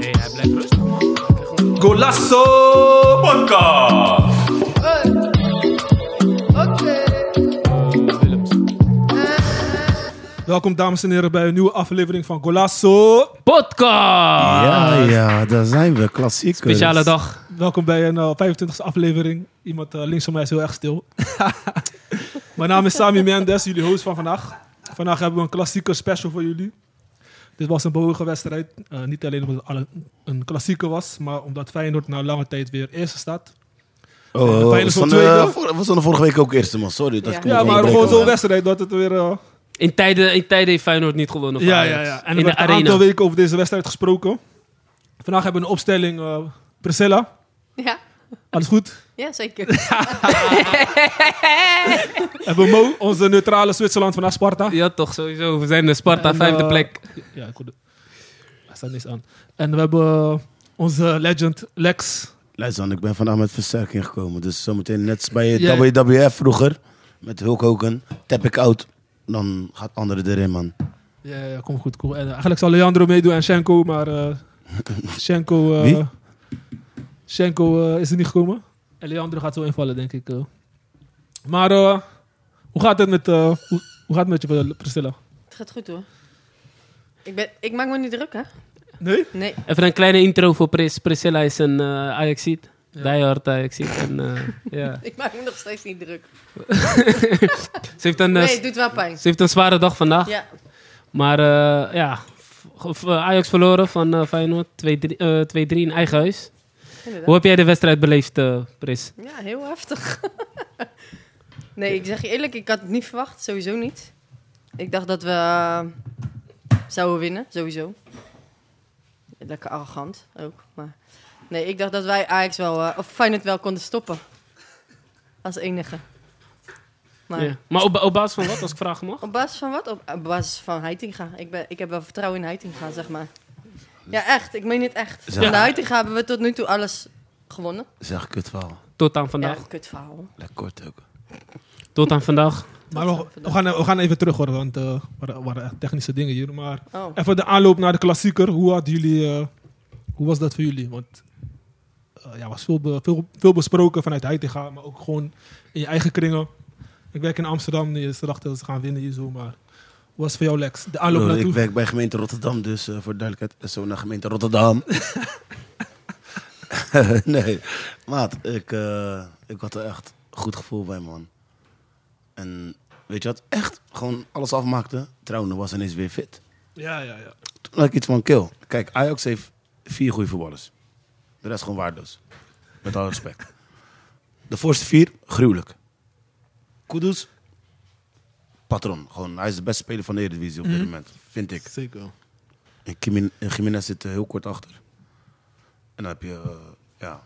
Hé, hij blijft rustig, man. Golasso Podcast! Oh, Willems. Welkom dames en heren bij een nieuwe aflevering van Golasso. Podcast! Ja, Ah, ja, daar zijn we. Klassieker. Speciale dag. Welkom bij een eh, 25e aflevering. Iemand eh, links van mij is heel erg stil. Mijn naam is Sami Mendes, jullie host van vandaag. Vandaag hebben we een klassieke special voor jullie. Dit was een bewogen wedstrijd. Eh, niet alleen omdat het alle- een klassieke was, maar omdat Feyenoord na lange tijd weer eerste staat. Oh, oh, Feyenoord we, voor stonden, tweede. eh, vor- we stonden vorige week ook eerste, man. Sorry. Dat Ja. ik Ja, niet maar onderbreek, gewoon zo'n man. wedstrijd dat het weer... eh, In tijden, in tijden heeft Feyenoord niet gewonnen. van Ja, ja, Ajax. ja. En we In de hebben een arena. aantal weken over deze wedstrijd gesproken. Vandaag hebben we een opstelling. eh, Priscilla, Ja, alles goed? ja zeker. hebben we Mo, onze neutrale Zwitserland van Sparta. Ja, toch, sowieso. We zijn de Sparta, En, vijfde eh, plek. Ja, ik hoorde- Hij staat niks aan. En we hebben eh, onze legend Lex. Luister, ik ben vandaag met versterking gekomen. Dus zometeen net bij Ja. WWF vroeger. Met Hulk Hogan. Tap ik out. Dan gaat anderen erin, man. Ja, ja, kom goed, cool. En eh, eigenlijk zal Leandro meedoen en Schenko, maar eh Schenko... eh, Wie? Schenko eh, is er niet gekomen. En Leandro gaat zo invallen, denk ik. eh. Maar eh, hoe gaat het met, eh, hoe, hoe gaat het met je, eh, Priscilla? Het gaat goed hoor. Ik, ben, ik maak me niet druk hè? Nee? Nee. Even een kleine intro voor Pris. Priscilla is een eh Ajaxiet. Ja. Diehard Ajaxiet. En, eh, ja. Ik maak me nog steeds niet druk. Ze heeft een... eh, Ah. Nee, het doet wel pijn. ze heeft een zware dag vandaag. Ja, Maar eh, ja, v- v- Ajax verloren van eh, Feyenoord. 2-3 eh, 2-3 in eigen huis. Hoe inderdaad. heb jij de wedstrijd beleefd, eh, Pris? Ja, heel heftig. Nee, ik zeg je eerlijk, ik had het niet verwacht. Sowieso niet. Ik dacht dat we eh, zouden winnen, sowieso. Lekker arrogant ook. Maar nee, ik dacht dat wij Ajax wel, eh, of Feyenoord wel konden stoppen. Als enige. Maar Ja. Maar op, op basis van wat, als ik vragen mag? Op basis van wat? Op, op basis van Heitinga. Ik, ben, ik heb wel vertrouwen in Heitinga, zeg maar. Ja, echt. Ik meen het echt. Ja. Van de Heitinga hebben we tot nu toe alles gewonnen. Zeg ik het wel. Tot aan Ja, vandaag. kut verhaal. Lekker kort ook. Tot aan vandaag. Maar we, we gaan, we gaan even terug hoor, want eh, er waren- waren echt technische dingen hier. Maar Oh. even de aanloop naar de klassieker. Hoe, hadden jullie, eh, hoe was dat voor jullie? Want eh, ja, er was veel, be- veel, veel besproken vanuit Heitinga, maar ook gewoon in je eigen kringen. Ik werk in Amsterdam, dus ze dachten dat ze gaan winnen hier zo, maar hoe was het voor jou Lex? De aanloop Broer, naartoe? Nou, Ik werk bij gemeente Rotterdam, dus eh, voor de duidelijkheid, zo naar gemeente Rotterdam. nee, maat, ik, eh, ik had er echt goed gevoel bij, man. En weet je wat, echt gewoon alles afmaakte. Trouwen was ineens weer fit. Ja, ja, ja. Toen had ik iets van, kill. Kijk, Ajax heeft vier goede voetballers. De rest gewoon waardeloos. Met alle respect. De voorste vier, gruwelijk. Kudus, patron. Gewoon, hij is de beste speler van de Eredivisie op dit moment, vind ik. Zeker. En Jimin- en Jiménez zit eh, heel kort achter. En dan heb je, eh, ja,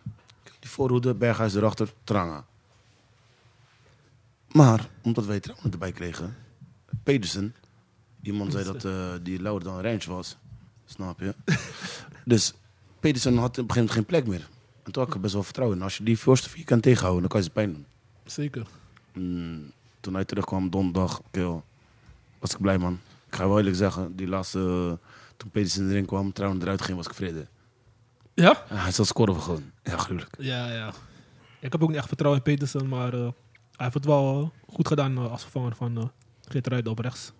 die voorhoede, Berghuis erachter, Tranga. Maar, omdat wij Tranga erbij kregen, Pedersen, iemand zei dat eh, die Lauder dan Rijns was, snap je? dus Pedersen had op een gegeven moment geen plek meer. En toen had ik er best wel vertrouwen in. Als je die voorste vier kan tegenhouden, dan kan je ze pijn doen. Zeker. Mm, toen hij terugkwam donderdag, kill, was ik blij man. Ik ga wel eerlijk zeggen, die laatste, eh, toen Pedersen erin kwam, trouwens eruit ging, was ik vrede. Ja? hij zal scoren gewoon. Ja, gruwelijk. Ja, ja. Ik heb ook niet echt vertrouwen in Petersen, maar eh, hij heeft het wel eh, goed gedaan eh, als vervanger van eh Geert Ruijden op rechts.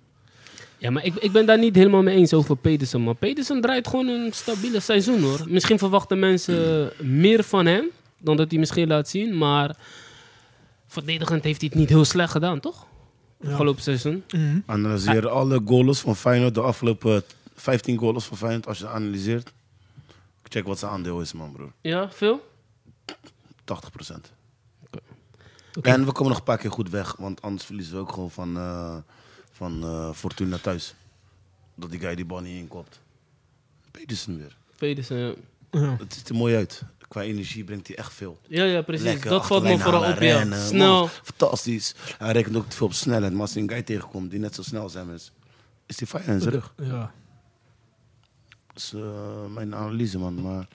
Ja, maar ik, ik ben daar niet helemaal mee eens over Pedersen. Maar Pedersen draait gewoon een stabiele seizoen hoor. Misschien verwachten mensen meer van hem dan dat hij misschien laat zien. Maar verdedigend heeft hij het niet heel slecht gedaan, toch? Afgelopen seizoen. Mhm. Analyseer alle goals van Feyenoord, de afgelopen 15 goals van Feyenoord, als je dat analyseert. Check wat zijn aandeel is, man, broer. Ja, veel? 80 En we komen nog een paar keer goed weg, want anders verliezen we ook gewoon van, eh, van eh, Fortuna thuis. Dat die guy die bal niet inkopt. Pedersen weer. Pedersen, ja. Ja. Het ziet er mooi uit. Qua energie brengt hij echt veel. Ja, ja, precies. Lekker dat valt me achterlijn vooral halen, op, ja. rennen. Snel. Man, fantastisch. Hij rekent ook te veel op snelheid. Maar als hij een guy tegenkomt die net zo snel als hem is, is hij fijn in zijn rug. Ja. Dat is eh, mijn analyse, man. Maar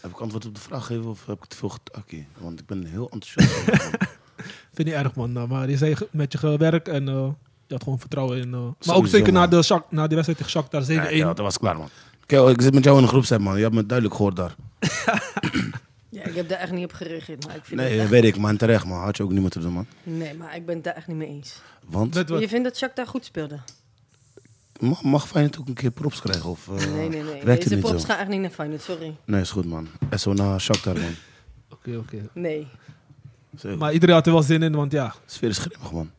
heb ik antwoord op de vraag gegeven of heb ik te veel getakkie? Want ik ben heel enthousiast. over hem. Vind niet erg, man. Nou, Maar je zei ge- met je gewerkt en eh, had gewoon vertrouwen in. eh, maar ook Sowieso, zeker na man. de, Shak- na de wedstrijd tegen Shakhtar 7-1. Ja, ja, dat was klaar, man. Kijk, ik zit met jou in een groepsapp, man. Je hebt me duidelijk gehoord daar. Ja, ik heb daar echt niet op gereageerd. Maar ik vind Nee, het dat echt- weet ik, man. Terecht, man. Had je ook niet moeten doen, man. nee, maar ik ben het daar echt niet mee eens. Want Met wat- Je vindt dat Shaq daar goed speelde? mag, mag Feyenoord ook een keer props krijgen? Of, eh, Nee, nee, nee. Werkt Deze het niet props zo? gaan echt niet naar Feyenoord, sorry. Nee, is goed, man. SO na Shakhtar, man. Oké, oké. Nee. Zo, Maar iedereen had er wel zin in, want ja. sfeer is grimmig, man.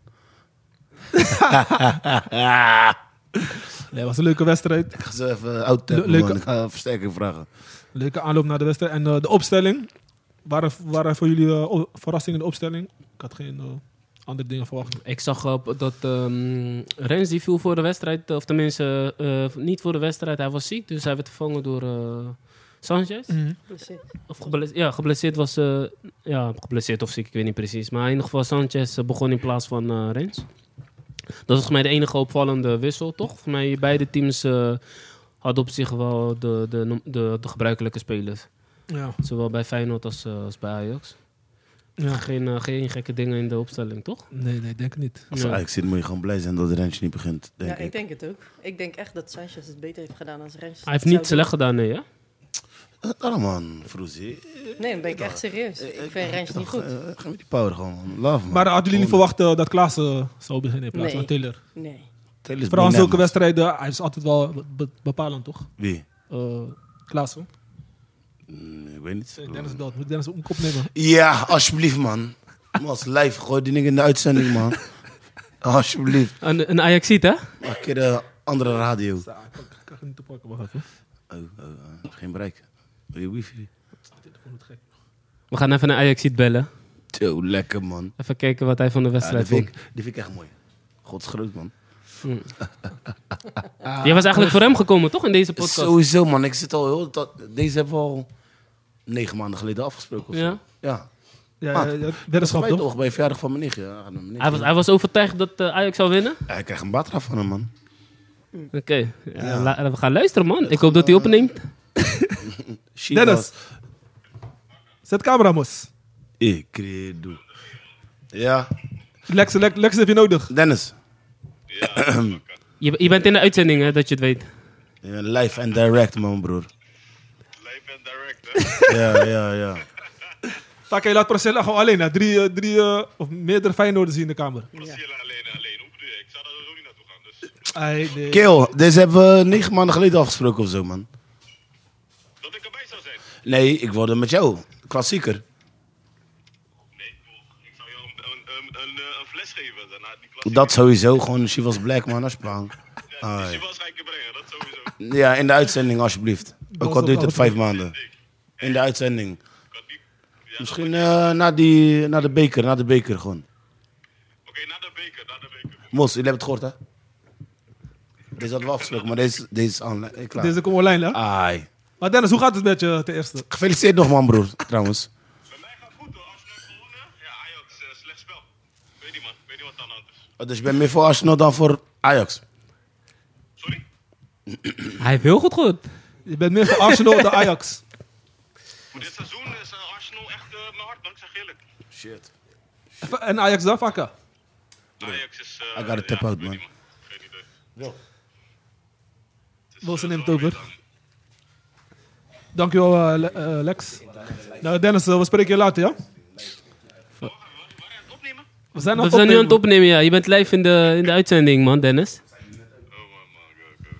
Nee, het was een leuke wedstrijd. Ik ga ze even oud Le- tappen, leuke- man. Ik ga versterking vragen. Leuke aanloop naar de wedstrijd. En eh, de opstelling. Waren, waren voor jullie eh, o- verrassingen in de opstelling? Ik had geen eh, andere dingen verwacht. Ik zag op dat ehm Rens die viel voor de wedstrijd, of tenminste eh, niet voor de wedstrijd, hij was ziek, dus hij werd vervangen door eh, Sanchez. Mhm. Dus, eh, Of geblesseerd, ja, geblesseerd was, eh, ja, geblesseerd of ziek, ik weet niet precies. Maar in ieder geval Sanchez eh, begon in plaats van eh, Rens. Dat is volgens mij de enige opvallende wissel, toch? Volgens mij beide teams eh, hadden op zich wel de, de, de, de gebruikelijke spelers. Ja. Zowel bij Feyenoord als, eh, als bij Ajax. ja. Geen, eh, geen gekke dingen in de opstelling, toch? Nee, nee, denk ik niet. Als Ja. ze eigenlijk zit, moet je gewoon blij zijn dat Rensje niet begint, denk ja, ik ik. denk het ook. Ik denk echt dat Sanchez het beter heeft gedaan dan Rens. Hij heeft niet slecht gedaan, nee, hè? Eh, Daarom, man, Froezie. Nee, dan ben ik echt serieus. Ik vind Rens niet goed. eh, Ga met die power gewoon, man. Love, man. Maar hadden jullie niet Gewoon- verwacht eh, dat Klaas eh, zou beginnen in plaats Nee. van Taylor? Nee. Taylor Vooral in is bananas. zulke wedstrijden, hij is altijd wel be- bepalend, toch? Wie? Eh Klaas, hoor. Mm, ik weet niet. Eh, Dennis dat. Moet Dennis ook een kop nemen? Ja, alsjeblieft, man. Mas, live, gooi die ding in de uitzending, man. Alsjeblieft. Een, een Ajaxiet, hè? Maak een keer de andere radio. Ja, ik kan- ik kan het niet te pakken, wacht even. Oh, oh, oh, geen bereik. Wil je wifi? We gaan even een Ajaxiet bellen. Zo, lekker, man. Even kijken wat hij van de Ja, die, wedstrijd vind vond. ik, die vind ik echt mooi. Godsgroot, man. Hm. Jij was eigenlijk voor hem gekomen, toch? In deze podcast. Sowieso, man. Ik zit al heel... dat- deze hebben we al negen maanden geleden afgesproken. Of zo. Ja. Ja. Ja, ja, Maat, ja, Dat weddenschap, is mij toch? toch bij verjaardag van mijn nichtje. Ja, aan mijn Hij nichtje. was, hij was overtuigd dat eh, Ajax zou winnen. Ja, ik krijg een batra van hem, man. Oké, Ja, la- we gaan luisteren, man. Ik hoop dat hij opneemt. She Dennis! was- Zet camera, mos. Ik credo. Ja. Lex, Lex, Lex heb je nodig. Dennis. Je, je bent in de uitzending, hè, dat je het weet. Je bent live en direct, man, broer. Live en direct, hè? Ja, ja, ja. Vaak hij laat Priscilla gewoon alleen. Hè. Drie, eh, drie eh, of meerdere Feyenoorders hier in de kamer. Priscilla alleen, alleen. Hoe bedoel je? Ik zou daar dus ook niet naartoe gaan, dus... Ai, nee. Kill, deze hebben we negen maanden geleden afgesproken of zo, man. Dat ik erbij zou zijn? Nee, ik wilde met jou. Klassieker. Nee, joh. ik zou jou een, een, een, een, eh, een fles geven, daarna die klas. Dat sowieso, gewoon She Was Black, man, alsjeblieft. Ja, Ah, dus je ja. was ga ik je brengen, dat sowieso. Ja, in de uitzending, alsjeblieft. Ook al duurt het vijf maanden. In de uitzending. Ik had niet... Ja, Misschien eh, na, die, na de beker, na de beker gewoon. Oké, na de beker, na de beker. Mos, jullie hebben het gehoord, hè? Deze hadden we afgesproken, maar deze, deze is aan. eh, Klaar. Deze komt online, hè? Ai. Maar Dennis, hoe gaat het met je ten eerste? Gefeliciteerd nog, man, broer, trouwens. Bij mij gaat goed, hoor. Arsenal heeft gewonnen. Ja, Ajax, eh, slecht spel. Weet niet, man. Weet niet wat aan de hand is. Oh, Dus je bent meer voor Arsenal dan voor Ajax. Sorry? Hij heeft heel goed gehoord. Je bent meer voor Arsenal dan Ajax. Voor dit seizoen is eh, Arsenal echt eh, mijn hart, man. Ik zeg eerlijk. Shit. En Ajax dan, Vakka. Ajax is... eh, I gotta tap ja, out, weet man. niet, Geen idee. Het is, Wilson eh, neemt wel over. weer dan. Dankjewel, eh, Le- eh, Lex. Nou, Dennis, eh, we spreken je later, ja? Waar waar ga je het opnemen? We zijn, We zijn nu aan het opnemen, ja. Je bent live in de, in de uitzending, man, Dennis. Oh, man, man.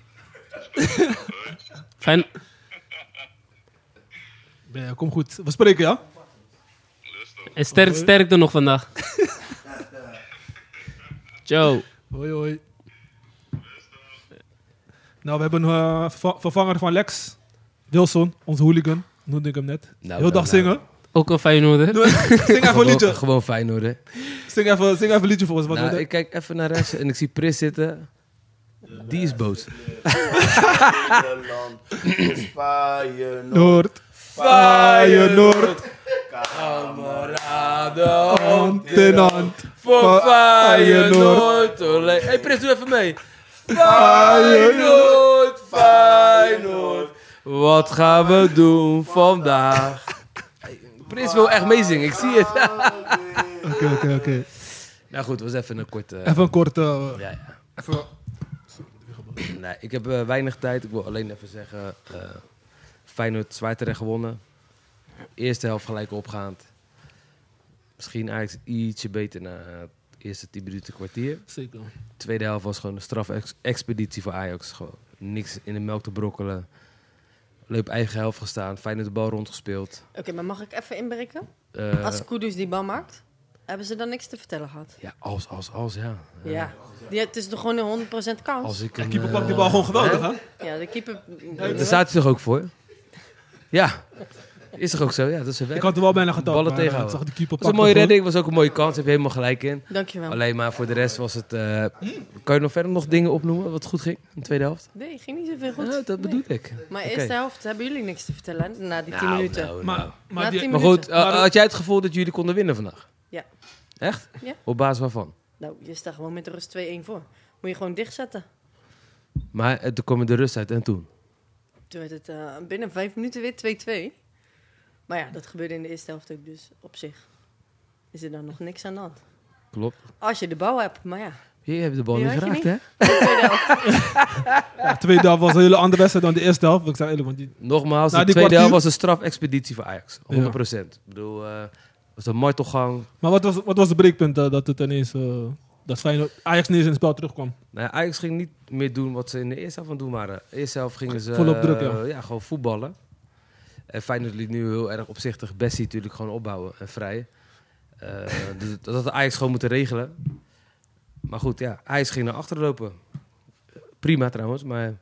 Go, go. Fijn. Nee, kom goed. We spreken, ja? Rustig. En sterk, sterkte nog vandaag. Ciao. Hoi, hoi. Nou, we hebben een eh, verva- vervanger van Lex. Wilson, onze hooligan. Noemde ik hem net. nou, Heel dag nou. zingen. Ook een Feyenoorder. Doe- zing even een liedje. Gewoon, gewoon Feyenoord, hè? Zing even, zing even een liedje voor ons. Wat Nou, we- ik kijk even naar rechts en ik zie Pris zitten. Die is boos. Nederland, Feyenoord, Noord. Feyenoord. Kameraden, Tenant. voor Feyenoord. Feyenoord. Olé. hey, Pris, doe even mee. Feyenoord, Feyenoord. Wat gaan we doen vandaag? Hey, Pris wil echt meezingen, ik zie het. Oké, oké, oké. Ja Nou goed, was even een korte... Even een korte... eh, Ja, ja. even- Nee, ik heb eh, weinig tijd. Ik wil alleen even zeggen... eh Feyenoord zwaar terecht gewonnen. Eerste helft gelijk opgaand. Misschien eigenlijk ietsje beter na het eerste 10 minuten kwartier. Zeker. tweede helft was gewoon een strafexpeditie voor Ajax. Gewoon niks in de melk te brokkelen. Leuk eigen helft gestaan. Fijn de bal rondgespeeld. Oké, maar mag ik even inbreken? Eh, Als Kudus die bal maakt, hebben ze dan niks te vertellen gehad? Ja, als, als, als, ja. Eh, Ja. Die, het is toch gewoon een 100% kans? Als ik De een, keeper pakt die eh, bal gewoon geweldig, hè? Ja, de keeper... Daar staat hij toch ook voor? Ja. Is toch ook zo? Ja, dat is een Ik werk. had er wel bijna gedacht. Ballen maar, eh, tegenhouden. zag de keeper was een pakken mooie voor. redding. was ook een mooie kans. Heb je helemaal gelijk in. Dankjewel. Alleen maar voor de rest was het... eh, kan je nog verder nog dingen opnoemen wat goed ging in de tweede helft? Nee, ging niet zoveel goed. Ja, dat bedoel ik. Maar Oké. eerste helft hebben jullie niks te vertellen hè? na die 10 Nou, minuten. nou, nou. Maar, na maar 10 die, Maar minuten. goed, eh, had jij het gevoel dat jullie konden winnen vandaag? Ja. Echt? Ja. Op basis waarvan? Nou, je staat gewoon met de rust 2-1 voor. Moet je gewoon dichtzetten. Maar eh, toen kwam de rust uit en toen. Toen werd het eh, binnen 5 minuten weer 2-2. Maar ja, dat gebeurde in de eerste helft ook dus op zich. Is er dan nog niks aan de hand? Klopt. Als je de bal hebt, maar ja. Je hebt de bal Die niet had je geraakt, niet. hè? ja, tweede helft was een hele andere wedstrijd dan de eerste helft. Ik zei eerlijk, want die, Nogmaals, Nou, de die tweede kwartier- helft was een strafexpeditie voor Ajax. 100%. Ik bedoel, eh was een martelgang. maar wat was, wat was het breekpunt eh, dat het ineens... eh, dat Feyenoord, Ajax niet eens in het spel terugkwam? Nou, ja, Ajax ging niet meer doen wat ze in de eerste helft aan het doen waren. De eerste helft gingen ze Volop druk, eh, ja. gewoon voetballen. En Feyenoord liet nu heel erg opzichtig Bessie natuurlijk gewoon opbouwen en vrij. Eh, dus dat had Ajax gewoon moeten regelen. Maar goed, ja, Ajax ging naar achteren lopen. Prima trouwens, maar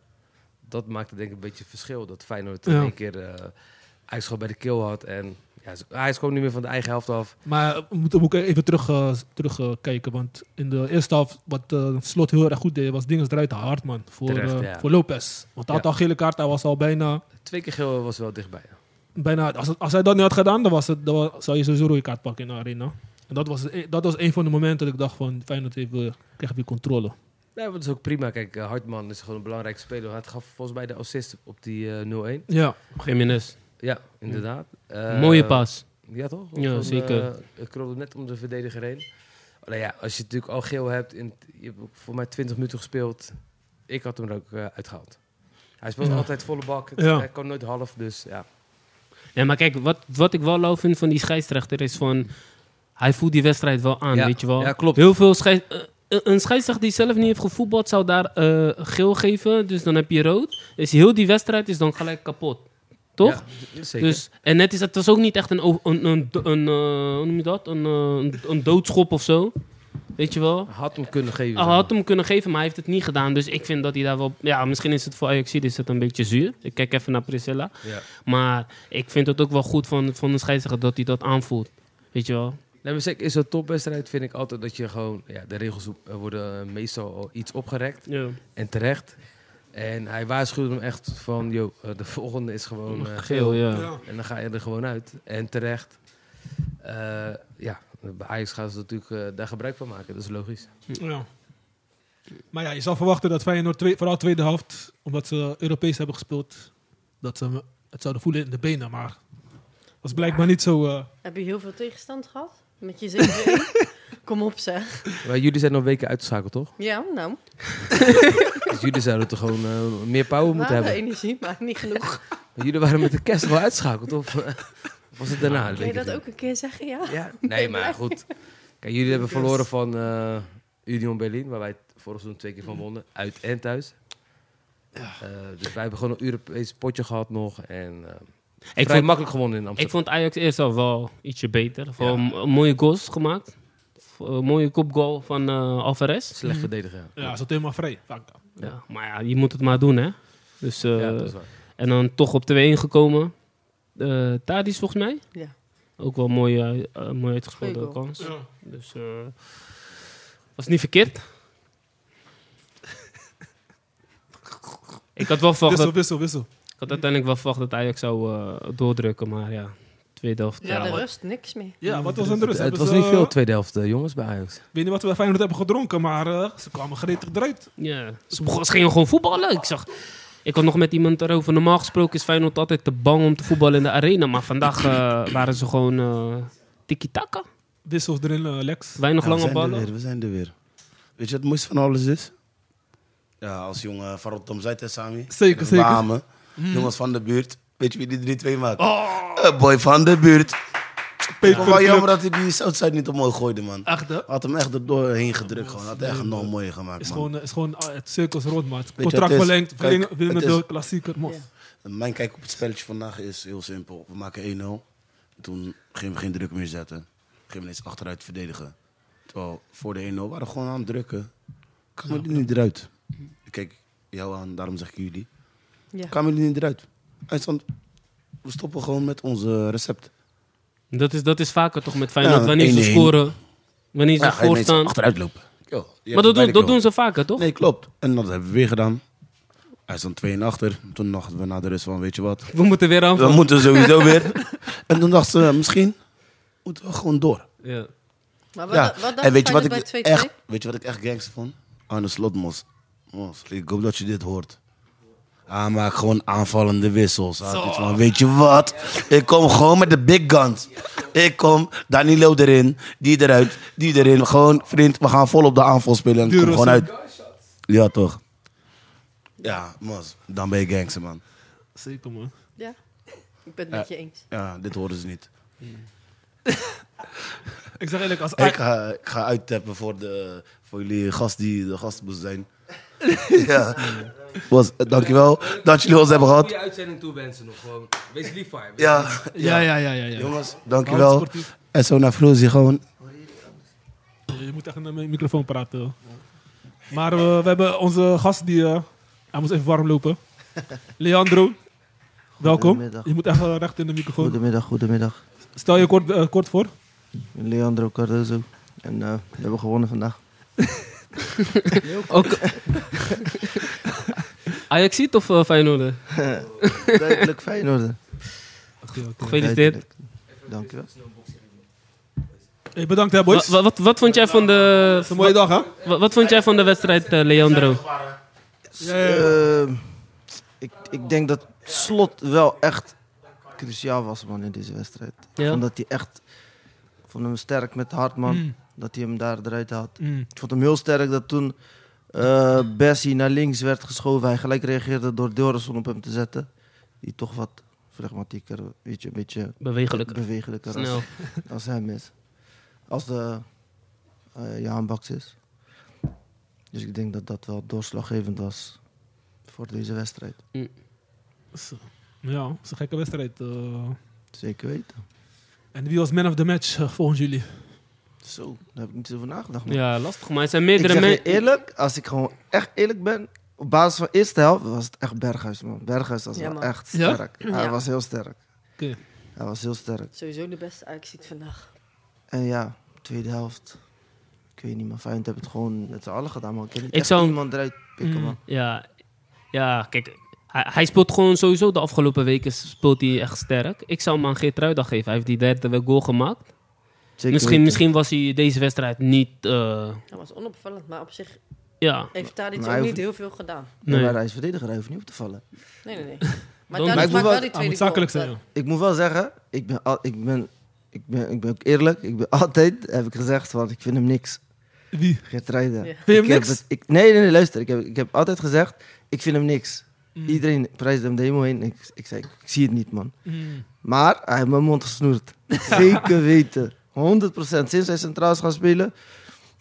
dat maakte denk ik een beetje het verschil. Dat Feyenoord in Ja. één keer eh, Ajax gewoon bij de keel had. En ja, ze- Ajax kwam niet meer van de eigen helft af. Maar we moeten ook even terugkijken. terug, eh, kijken, want in de eerste helft, wat eh, Slot heel erg goed deed, was Dinges eruit hard, man. Voor, Terecht, eh, ja. voor Lopez. Want hij had Ja. al gele kaart, hij was al bijna... Twee keer geel was wel dichtbij. bijna als, het- als hij dat niet had gedaan, dan, was het, dan wa- zou je sowieso een rode kaart pakken in de arena. En dat was, e- dat was een van de momenten dat ik dacht van, Feyenoord heeft weer, krijgt weer controle. Nee, maar dat is ook prima. Kijk, eh, Hartman is gewoon een belangrijke speler. Hij gaf volgens mij de assist op die eh, 0-1. Ja, Jiménez. Ja, inderdaad. Eh, Mooie pas. Ja, toch? Ja, Van, zeker. eh, het krulde net om de verdediger heen. Alleen ja, als je natuurlijk al geel hebt... In, je hebt ook voor mij 20 minuten gespeeld. Ik had hem er ook eh, uitgehaald. Hij speelt Ja. altijd volle bak. Het- Ja. Hij kan nooit half, dus ja. Nee, maar kijk, wat, wat ik wel lauw vind van die scheidsrechter is van... Hij voelt die wedstrijd wel aan, Ja, weet je wel. ja, klopt. Heel veel scheids... eh, eh, een scheidsrechter die zelf niet heeft gevoetbald zou daar eh, geel geven. Dus dan heb je rood. Dus heel die wedstrijd is dan gelijk kapot. Toch? Ja, zeker. Dus, en net is het was ook niet echt een, o- een, een, een, eh, hoe noem je dat? Een, eh, een, een doodschop of zo. Weet je wel? Had hem kunnen geven. Hij had hem kunnen geven, maar hij heeft het niet gedaan. Dus ik vind dat hij daar wel... Ja, misschien is het voor Ajax is het een beetje zuur. Ik kijk even naar Priscilla. Ja. Maar ik vind het ook wel goed van, van de scheidsrechter dat hij dat aanvoelt. Weet je wel? Nee, maar zeker, in zo'n topwedstrijd vind ik altijd dat je gewoon... Ja, de regels eh, worden meestal al iets opgerekt. Ja. En terecht. En hij waarschuwde hem echt van, joh, eh, de volgende is gewoon eh, Geel, ja. En dan ga je er gewoon uit. En terecht. Eh, ja, bij Ajax gaan ze natuurlijk eh, daar gebruik van maken. Dat is logisch. ja. Maar ja, je zou verwachten dat Feyenoord, twee, vooral tweede helft, omdat ze Europees hebben gespeeld, dat ze het zouden voelen in de benen. Maar dat was blijkbaar niet zo... eh, Heb je heel veel tegenstand gehad? Met je 7-1? Kom op zeg. Maar jullie zijn nog weken uitgeschakeld, toch? Ja, nou. Dus jullie zouden toch gewoon eh, meer power We moeten hadden hebben? energie, maar niet genoeg. Maar Jullie waren met de kerst wel uitgeschakeld, of eh, was het daarna? Kun je Weet ik dat ook een keer zeggen, ja? niet. Ja, nee, maar goed. Kijk, jullie hebben verloren van eh, Union Berlin, waar wij vorig seizoen twee keer van wonnen. Uit en thuis. Eh, dus wij hebben gewoon een Europees potje gehad nog. En eh, Ik, vrij vond, makkelijk gewonnen in ik Amsterdam. vond Ajax eerst al wel ietsje beter. Vooral m- mooie goals gemaakt. V- eh, mooie kopgoal van eh, Alvarez. Slecht verdedigen. ja. ja, ze zat helemaal vrij. Dank. Ja. Maar ja, je moet het maar doen, hè? Dus, eh, Ja, dat is waar. En dan toch op 2-1 gekomen. Eh Tadis volgens mij. Ja. Ook wel mooi, eh, eh, mooi uitgespeelde Goeie goal. kans. Dus eh, was niet verkeerd. ik, had wel verwacht Wissel, dat, wissel, wissel. ik had uiteindelijk wel verwacht dat Ajax zou eh, doordrukken. Maar ja, tweede helft. Ja, eh, de rust, niks meer. Ja, wat was aan de rust? Het Dus Hebben was ze- niet veel tweede helft, eh, jongens, bij Ajax. Ik weet niet wat we bij Feyenoord hebben gedronken, maar eh, ze kwamen gretig eruit. Ja, ze, begon, ze gingen gewoon voetballen. Ik zag... Ik had nog met iemand erover. Normaal gesproken is Feyenoord altijd te bang om te voetballen in de arena. Maar vandaag eh, waren ze gewoon eh tiki-taka. wissels erin, eh, Lex. Weinig Ja, we lange zijn er ballen. weer, we zijn er weer. Weet je wat het mooiste van alles is? Ja, als jongen van Rotterdam Zuid, hè, Sami? Zeker, De zeker. Hmm. Wamen, jongens van de buurt. Weet je wie die 3-2 maakt? Oh. Een boy van de buurt. Peet Ik vond voor wel de jammer club. dat hij die Southside niet omhoog gooide, man. Echt, hè? Had hem echt er doorheen gedrukt, gewoon. Had echt een nog mooier gemaakt, Is man. gewoon, eh, is gewoon ah, het cirkels rond, man. wat het Contract is? verlengd, Kijk, verlengen- winnen het de is- klassieker. Mos. Ja. Mijn kijk op het spelletje vandaag is heel simpel. We maken 1-0. Toen gingen we geen druk meer zetten. Gingen we ineens achteruit verdedigen. Terwijl voor de 1-0 waren we gewoon aan het drukken. Kwamen jullie niet eruit. Ik kijk jou aan, daarom zeg ik jullie. Ja. Kwamen jullie niet eruit. Eindstand, we stoppen gewoon met onze recept. Dat is, dat is vaker toch met Feyenoord, Ja, wanneer ze 1-1. scoren, wanneer ze Ja, ga je ineens voorstaan. achteruit lopen. Yo, je hebt Maar het dat, doen, bijna dat goal. doen ze vaker, toch? Nee, klopt. En dat hebben we weer gedaan. Hij stond 2 en achter. Toen dachten we na de rust van, weet je wat... We moeten weer We aan. moeten sowieso weer. En toen dachten ze, misschien moeten we gewoon door. Ja. Maar wat, Ja. wat dacht en weet je wat, ik Feyenoord bij 2-2? echt, weet je wat ik echt gangster vond? Arne Slot, mos. Mos, Ik hoop dat je dit hoort. Hij maakt gewoon aanvallende wissels. Hij had iets van, weet je wat? Ik kom gewoon met de big guns. Ik kom, Danilo erin, die eruit, die erin. Gewoon, vriend, we gaan vol op de aanval spelen en ik kom Dure gewoon zak. uit. Ja, toch? Ja, mos. Dan ben je gangster, man. Zeker, man. Ja. Ik ben het met je eens. Ja, dit horen ze niet. Ik zeg eerlijk, als Ik Ajax- ga, ik ga uittappen voor, de, voor jullie gast die de gast moest zijn. ja. Was, dankjewel dat jullie ons hebben gehad. Goede uitzending toewensen nog gewoon. Wees lief voor hem. Ja, Ja, ja, ja, ja. ja. jongens, Hans dankjewel. sportief. En zo naar Frozie gewoon. Je moet echt naar mijn microfoon praten. Maar eh, we hebben onze gast die... eh, hij moet even warm lopen. Leandro, welkom. Goedemiddag. Je moet echt eh, recht in de microfoon. Goedemiddag, goedemiddag. Stel je kort, eh, kort voor. Leandro Cardozo. En eh, we hebben gewonnen vandaag. Ook... Ajax ziet of eh Feyenoorder? Duidelijk Feyenoord. Gefeliciteerd. Dankjewel. Hey, bedankt hè, Wat, boys. Het wat, wat, vond jij van de, is een mooie dag, hè? wat, wat vond jij van de wedstrijd, eh, Leandro? Ehm, ik, ik denk dat Slot wel echt cruciaal was man in deze wedstrijd. Ja. Omdat hij echt... Ik vond hem sterk met Hartman. Mm, Dat hij hem daar eruit had. mm. Ik vond hem heel sterk dat toen eh, Bessie naar links werd geschoven, hij gelijk reageerde door Deurison op hem te zetten. Die toch wat flegmatieker, weet je, een beetje Bewegelijk. bewegelijker als, Snel. als hem is. Als de eh Jaan Baks is. Dus ik denk dat dat wel doorslaggevend was voor deze wedstrijd. Zo. eh, Ja, het is een gekke wedstrijd. eh. Zeker weten. En wie was man of the match eh, volgens jullie? Zo, daar heb ik niet over nagedacht. man. Ja, lastig. Maar er zijn ik meerdere zeg je mensen. eerlijk, als ik gewoon echt eerlijk ben, op basis van eerste helft was het echt Berghuis, man. Berghuis was Ja, wel man. echt Ja? sterk. Hij Ja. was heel sterk. Oké. Hij was heel sterk. Sowieso de beste Ajax ziet vandaag. En ja, tweede helft. Ik weet niet, maar Feyenoord heeft het gewoon met z'n allen gedaan, man. Ik, ken niet Ik echt zou- iemand eruit pikken, Mm. man. Ja, ja kijk. Hij, hij speelt gewoon sowieso de afgelopen weken speelt hij echt sterk. Ik zou hem aan Geertruida geven. Hij heeft die derde wel goal gemaakt. Zeker Misschien, weten. misschien was hij deze wedstrijd niet... eh, Hij was onopvallend, maar op zich ja, heeft Tadic Maar ook hij hoeft- niet heel veel gedaan. nee. Maar hij is verdediger, hij hoeft niet op te vallen. Nee, nee, nee. Maar Dan- Maar Tadic ik maakt moet wel- wel die Hij tweede moet goal. zakelijk zijn. Dat- ja. Ik moet wel zeggen, ik ben, al, ik ben, ik ben, ik ben ook eerlijk. Ik ben altijd, heb ik gezegd, want ik vind hem niks. Wie? Geert Rijden. Ja. Ik Vind je hem heb niks? het- ik, nee, nee, nee, luister. Ik heb, ik heb altijd gezegd, ik vind hem niks. Iedereen prijst hem de hemel heen. Ik, ik zei, ik zie het niet, man. Mm. Maar hij heeft mijn mond gesnoerd. Zeker weten. 100%. Sinds hij centraal is gaan spelen,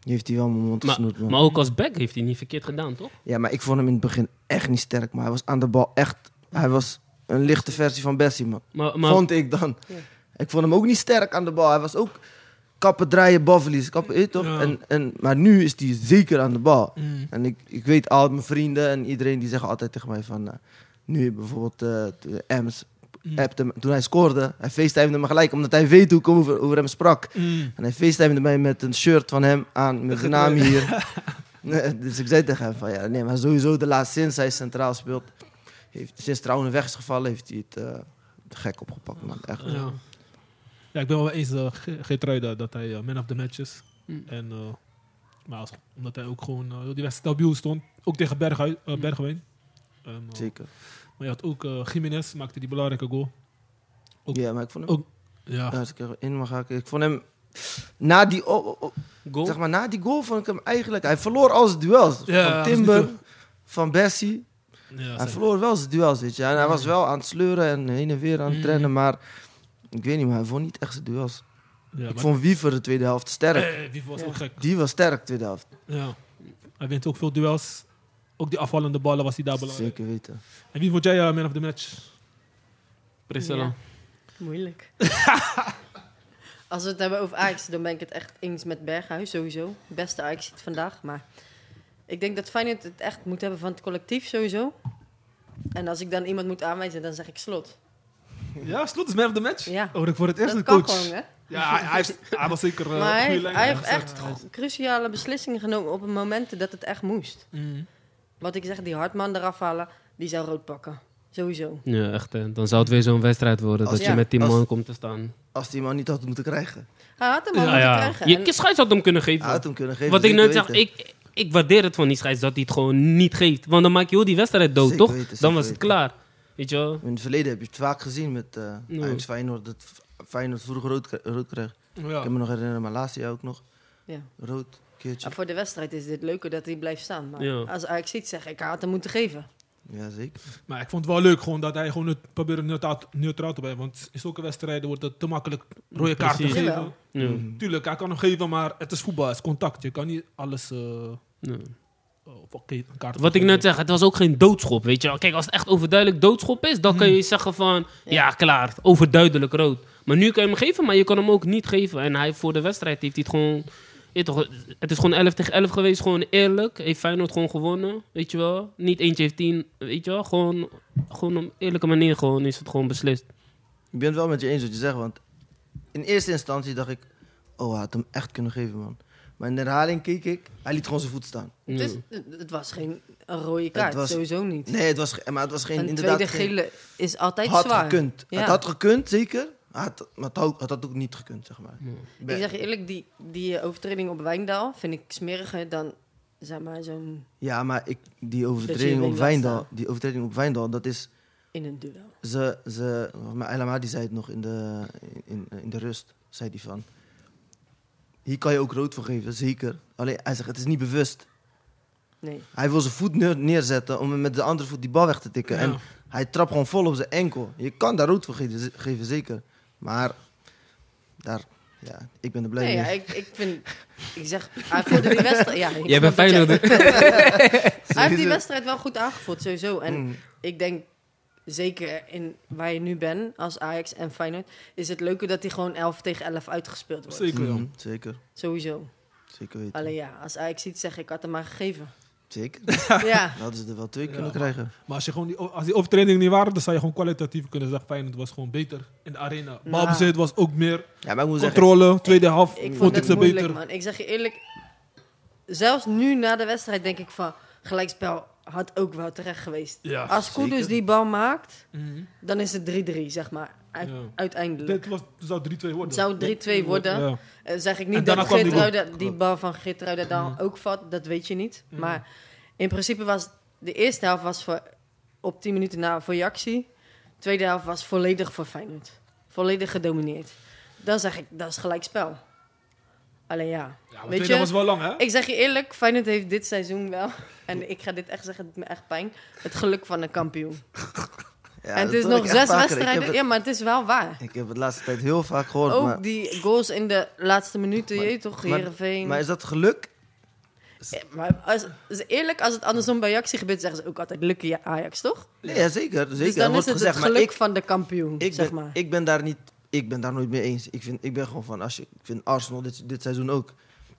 heeft hij wel mijn mond Maar, gesnoerd, man. maar ook als back heeft hij niet verkeerd gedaan, toch? Ja, maar ik vond hem in het begin echt niet sterk. Maar hij was aan de bal echt... Hij was een lichte versie van Bessie, man. Maar, maar, Vond ik dan. Ja. Ik vond hem ook niet sterk aan de bal. Hij was ook kappen draaien, balverlies. Kappen, eh, toch? Ja. En, en, maar nu is hij zeker aan de bal. Mm. En ik, ik weet al mijn vrienden en iedereen die zeggen altijd tegen mij van... eh, nu bijvoorbeeld eh, t- Ems Mm. appte me- toen hij scoorde. Hij facetimede me gelijk, omdat hij weet hoe ik over, over hem sprak. Mm. En hij facetimede mij met een shirt van hem aan, met de naam hier. Nee, dus ik zei tegen hem van, ja, nee, maar sowieso de laatste sinds hij centraal speelt... Heeft, sinds Trouwen weg is gevallen, heeft hij het eh, te gek opgepakt, man. Echt. Ja. ja, ik ben wel eens eh, Ge- Geertruida dat hij eh, man of the match is. Hmm. Mm. En, eh, maar als- omdat hij ook gewoon eh, heel die wedstrijd stabiel stond. Ook tegen Berghuis, Hmm. eh, Bergwijn. En, eh, Zeker. maar je had ook eh Jiménez, maakte die belangrijke goal. Ook- ja, maar ik vond hem... ook- Ja, Ja, als ik er in mag haken. Ik vond hem Na die, o- o- Goal. Zeg maar, na die goal vond ik hem eigenlijk... Hij verloor al zijn duels. Ja, van dat is niet Timber, van Bessie. Ja, Hij zeker. verloor wel zijn duels, weet je. En hij was wel aan het sleuren en heen en weer aan het Mm. trainen. Maar ik weet niet, maar hij vond niet echt zijn duels. Ja, ik maar- vond Wiever de tweede helft sterk. Eh, Wiever was ook gek. Die was sterk, tweede helft. Ja. Hij wint ook veel duels. Ook die afvallende ballen was hij daar belangrijk. Zeker weten. En wie vond jij eh, man of the match? Priscilla. Ja. Moeilijk. Als we het hebben over Ajax, dan ben ik het echt eens met Berghuis sowieso. Beste Ajax ziet vandaag, maar ik denk dat Feyenoord het echt moet hebben van het collectief sowieso. En als ik dan iemand moet aanwijzen, dan zeg ik slot. Ja, Slot is man of the match. Ja. Oh, ik voor het eerst dat een kan coach. gewoon, hè? Ja, hij, hij heeft- hij was zeker eh, Maar op hij goede heeft, lijn. hij heeft echt gezet. gro- cruciale beslissingen genomen op momenten dat het echt moest. Mm. Wat ik zeg, die Hartman eraf halen, die zou rood pakken. Sowieso. Ja, echt. Hè. Dan zou het weer zo'n wedstrijd worden Als- dat ja, je met die als- man komt te staan. Als die man niet had moeten krijgen. Hij had hem al Ja, moeten ja. krijgen. Je, En- je scheids had hem kunnen geven. Hij had hem kunnen geven. Wat ik zeker net zeg, weten. ik, ik waardeer het van die scheids dat hij het gewoon niet geeft. Want dan maak je heel die wedstrijd dood, Zeker toch? weten, zeker dan was het weten. klaar. Weet je wel? In het verleden heb je het vaak gezien met eh Ja. Ajax Feyenoord. Dat F- Feyenoord vroeger rood, kre- rood kreeg. Ik Ja. kan me nog herinneren, maar laatste jaar ook nog. Ja. Rood, keertje. Maar voor de wedstrijd is dit leuker dat hij blijft staan. Maar Ja. als Ajax ziet, zeg ik, hij had hem moeten geven. Ja, zeker. Maar ik vond het wel leuk gewoon dat hij gewoon het probeerde neutraal, neutraal te blijven. Want in zulke wedstrijden wordt het te makkelijk rode kaarten Precies. Mm. gegeven. Jawel. Ja. Mm. Tuurlijk, hij kan hem geven, maar het is voetbal, het is contact. Je kan niet alles... eh, Ja. op oké, een kaart Wat ik net zeg, het was ook geen doodschop, weet je wel. Kijk, als het echt overduidelijk doodschop is, dan kan Mhm. je zeggen van... Ja, klaar, overduidelijk rood. Maar nu kan je hem geven, maar je kan hem ook niet geven. En hij voor de wedstrijd heeft hij het gewoon... je toch, het is gewoon 11 tegen 11 geweest, gewoon eerlijk. Heeft Feyenoord gewoon gewonnen, weet je wel. Niet eentje heeft 10, weet je wel. Gewoon, gewoon op eerlijke manier gewoon is het gewoon beslist. Ik ben het wel met je eens wat je zegt, want in eerste instantie dacht ik, oh, hij had hem echt kunnen geven, man. Maar in de herhaling keek ik, hij liet gewoon zijn voet staan. Ja. Dus het, het was geen een rode kaart, was- sowieso niet. Nee, het was, ge- maar het was geen, een inderdaad tweede geen- gele is altijd had zwaar. gekund. Ja. Het had gekund, zeker. Had, maar het had, het had ook niet gekund, zeg maar. Ik zeg je eerlijk, die, die eh, overtreding op Wijndaal vind ik smeriger dan, zeg maar, zo'n Ja, maar ik, die Dat je hem overtreding op laat staan. Wijndal, die overtreding op Wijndal, dat is in een duel. ze, ze maar Elama die zei het nog in de, in, in de rust, zei die van. Hier kan je ook rood voor geven, zeker. Alleen hij zegt, het is niet bewust. Nee. Hij wil zijn voet neer- neerzetten om hem met de andere voet die bal weg te tikken. Ja. En hij trapt gewoon vol op zijn enkel. Je kan daar rood voor ge- geven, zeker. Maar daar, ja, ik ben er blij Nee, mee. ja, ik, ik vind... Ik zeg, hij voelde die wedstrijd... Ja, ik Jij bent dus- snap dat Feyenoord, Hij heeft die wedstrijd wel goed aangevoeld, sowieso. En Mm. ik denk, zeker in waar je nu bent als Ajax en Feyenoord... is het leuker dat hij gewoon 11 tegen 11 uitgespeeld wordt. Zeker, Mhm, Mm. ja. zeker, Sowieso. zeker weten. Alleen ja, als Ajax ziet, zeg ik, had hem maar gegeven. Zeker. ja. Dan hadden ze er wel twee Ja, kunnen maar- krijgen. Maar als, je gewoon die, als die overtredingen niet waren, dan zou je gewoon kwalitatief kunnen zeggen... Feyenoord was gewoon beter in de arena. Balbezit was ook meer. Ja, maar ik moet zeggen, Controle, tweede half, Nou. Ik vond vond ik het ze moeilijk, beter. man. Ik zeg je eerlijk, zelfs nu na de wedstrijd denk ik van... gelijkspel had ook wel terecht geweest. Ja, Als Kudus zeker. die bal maakt, Mhm. dan is het 3-3, zeg maar. Uit- Ja. Uiteindelijk. Dit was, zou 3-2 worden. Het zou 3-2 worden. Ja. Eh, zeg ik En niet daarna dat kwam die Mhm. Geertruida die bal van Geertruida dan ook vat, dat weet je niet. Maar in principe was de eerste helft was voor, op 10 minuten na voor Jaxi. Tweede helft was volledig voor Feyenoord. Volledig gedomineerd. Dan zeg ik, dat is gelijkspel. Alleen ja, Ja, maar weet tweede was je... wel lang, hè? Ik zeg je eerlijk, Feyenoord heeft dit seizoen wel... en ik ga dit echt zeggen, het doet me echt pijn... het geluk van een kampioen. ja, en dat het is hoor ik nog echt zes vaker. Ik wedstrijden. heb het- Ja, maar het is wel waar. Ik heb het de laatste tijd heel vaak gehoord. Ook maar, die goals in de laatste minuten, Maar- je toch, maar- Heerenveen. maar is dat geluk? Ja, Maar als, als- eerlijk, als het andersom bij Ajax gebeurt, zeggen ze ook altijd lucky Ajax, toch? Nee, ja, zeker. zeker. dus Er dan is wordt het gezegd, het maar geluk ik, van de kampioen, ik, zeg ben, maar. ik ben daar niet, ik ben daar nooit mee eens. Ik, vind, ik ben gewoon van, als je, ik vind Arsenal dit, dit seizoen ook.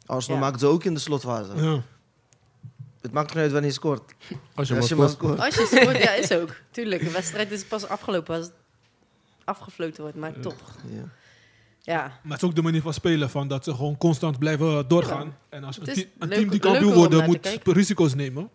Arsenal Ja. maakt ze ook in de slotfase. Ja. Het maakt niet uit wanneer je scoort. Als als je maar scoort. Als je scoort, ja, is ook. Tuurlijk, de wedstrijd is pas afgelopen als het afgefloten wordt, maar toch. Ja. Ja, Maar het is ook de manier van spelen, van dat ze gewoon constant blijven doorgaan. Ja. En als een, Het is te- een leuker- team die leuker kampioen om worden, naar te moet kijken. risico's nemen.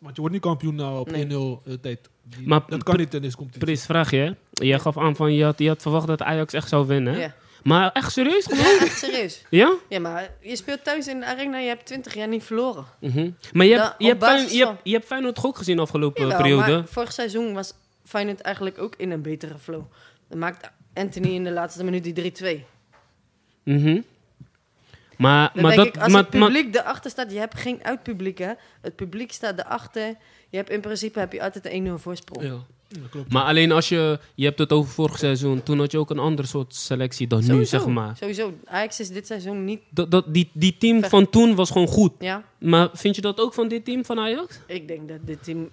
Want je wordt niet kampioen nou op Nee. 1-0 eh, tijd. Die- Maar- dat kan niet in deze competitie. Pris, vraag je. hè? Jij gaf aan van je had, je had verwacht dat Ajax echt zou winnen. hè? ja. Maar echt serieus? ja, echt serieus. Ja? Ja, maar je speelt thuis in de arena, je hebt 20 jaar niet verloren. Mhm. Maar je hebt, Nou, je, hebt op basis Feyenoord, je, van- hebt, je hebt Feyenoord toch ook gezien afgelopen Jawel, periode. maar vorig seizoen was Feyenoord eigenlijk ook in een betere flow. Dan maakt Anthony in de laatste minuut die 3-2. Mhm. Maar, Dan maar denk dat, ik, als maar, het maar- publiek erachter staat, je hebt geen uitpubliek, hè. Het publiek staat erachter. Je hebt in principe heb je altijd een 1-0 voorsprong. ja. maar alleen als je, je hebt het over vorig seizoen, toen had je ook een ander soort selectie dan nu, zeg maar. Sowieso. Ajax is dit seizoen niet... Dat, dat, die, die team van toen was gewoon goed. Ja, Maar vind je dat ook van dit team van Ajax? ik denk dat dit team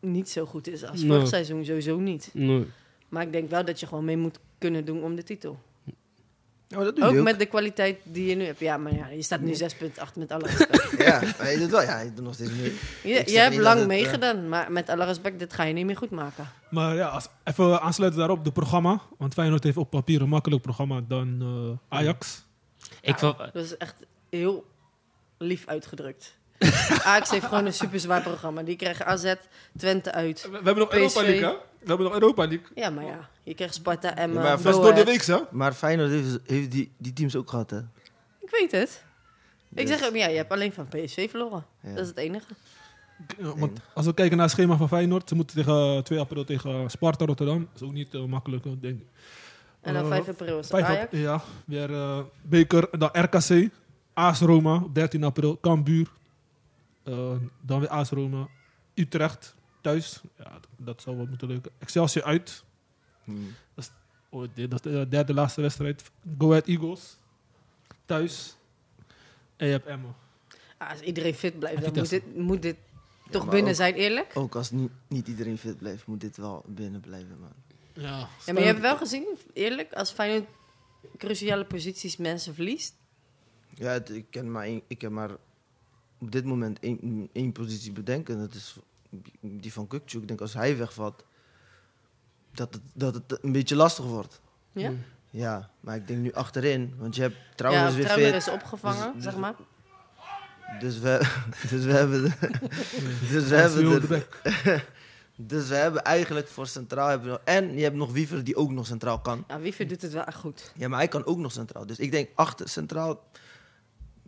niet zo goed is als Nee. vorig seizoen. Sowieso niet. Nee. Maar ik denk wel dat je gewoon mee moet kunnen doen om de titel. Oh, dat doe Ook je ook. met de kwaliteit die je nu hebt. Ja, maar ja, je staat nu 6,8 met alle respect. Ja, maar je doet wel. Ja, je doet nog steeds mee. Je, zeg je hebt niet lang dat het, eh, meegedaan, maar met alle respect, dit ga je niet meer goed maken. Maar ja, als, even aansluiten daarop, de programma. Want Feyenoord heeft op papier een makkelijk programma dan eh, Ajax. Ik ver- Dat is echt heel lief uitgedrukt. Ajax heeft gewoon een super zwaar programma. Die krijgen AZ, Twente uit. We, hebben nog Europa PSV. League, hè? We hebben nog Europa League. Ja, maar ja, je krijgt Sparta, Emmen, Ja, maar Go dat Ahead. hè? Maar Feyenoord heeft, heeft die, die teams ook gehad, hè? Ik weet het. Ik Dus- zeg ook, ja, je hebt alleen van PSV verloren. Ja. Dat is het enige. eh, want als we kijken naar het schema van Feyenoord, ze moeten tegen 2 april tegen Sparta Rotterdam. Dat is ook niet eh, makkelijk, eh, denk ik. En Oh, dan Eh, 5 april is 5 Ajax. april, ja, weer eh, beker. Dan RKC, AS Roma op 13 april, Cambuur. Eh, dan weer AS Roma, Utrecht thuis. Ja, d- dat zou wel moeten lukken. Excelsior uit. Oh, dit- dat is de eh, derde laatste wedstrijd. Go Ahead Eagles thuis. En je hebt Emma. Ah, als iedereen fit blijft, dan Vitesse. moet dit, moet dit toch maar binnen ook- zijn, eerlijk. Ook als niet, niet iedereen fit blijft, moet dit wel binnen blijven, man. Ja, Ja, maar je hebt wel gezien, eerlijk, als Feyenoord cruciale posities mensen verliest. Ja, het- ik, ken maar één- ik kan maar op dit moment één, één positie bedenken. Dat is die van Kukcu. Ik denk als hij wegvalt, dat het, dat het een beetje lastig wordt. Ja, Ja, maar ik denk nu achterin. Want je hebt ja Hmm. trouwens weer Trauner fit. is opgevangen, Dus- zeg maar. Dus we, dus we hebben... de- dus, we Hans hebben de- Wildebeck. dus we hebben eigenlijk voor centraal... Hebben we nog, en je hebt nog Wiever die ook nog centraal kan. Ja, Wiever doet het wel echt goed. Ja, maar hij kan ook nog centraal. Dus ik denk achter centraal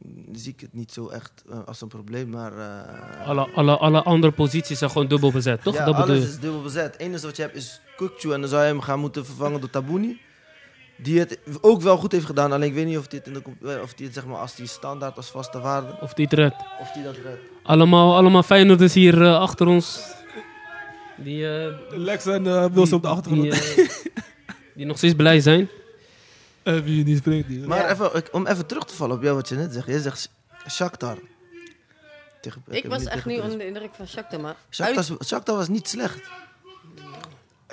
mm, zie ik het niet zo echt eh, als een probleem. Maar eh, alle, alle, alle andere posities zijn gewoon dubbel bezet, toch? ja, dat bedoel alles je? is dubbel bezet. Het enige wat je hebt is Kukcu en dan zou je hem gaan moeten vervangen door Tabouni. Die het ook wel goed heeft gedaan, alleen ik weet niet of dit, in de, comp- eh, of die het zeg maar als die standaard als vaste waarde, Of die het redt. of die dat redt. Allemaal, allemaal Feyenoorders hier eh, achter ons. Die, eh, Lex en eh Wilson op de achtergrond. Die, eh, die nog steeds blij zijn. Eh, wie niet spreekt, die. Maar even, ik- om even terug te vallen op jou wat je net zegt. Jij zegt Shakhtar. Tegen- Ik was niet echt tegen niet Perez. onder de indruk van Shakhtar, maar Shakhtar, uit- Shakhtar was niet slecht.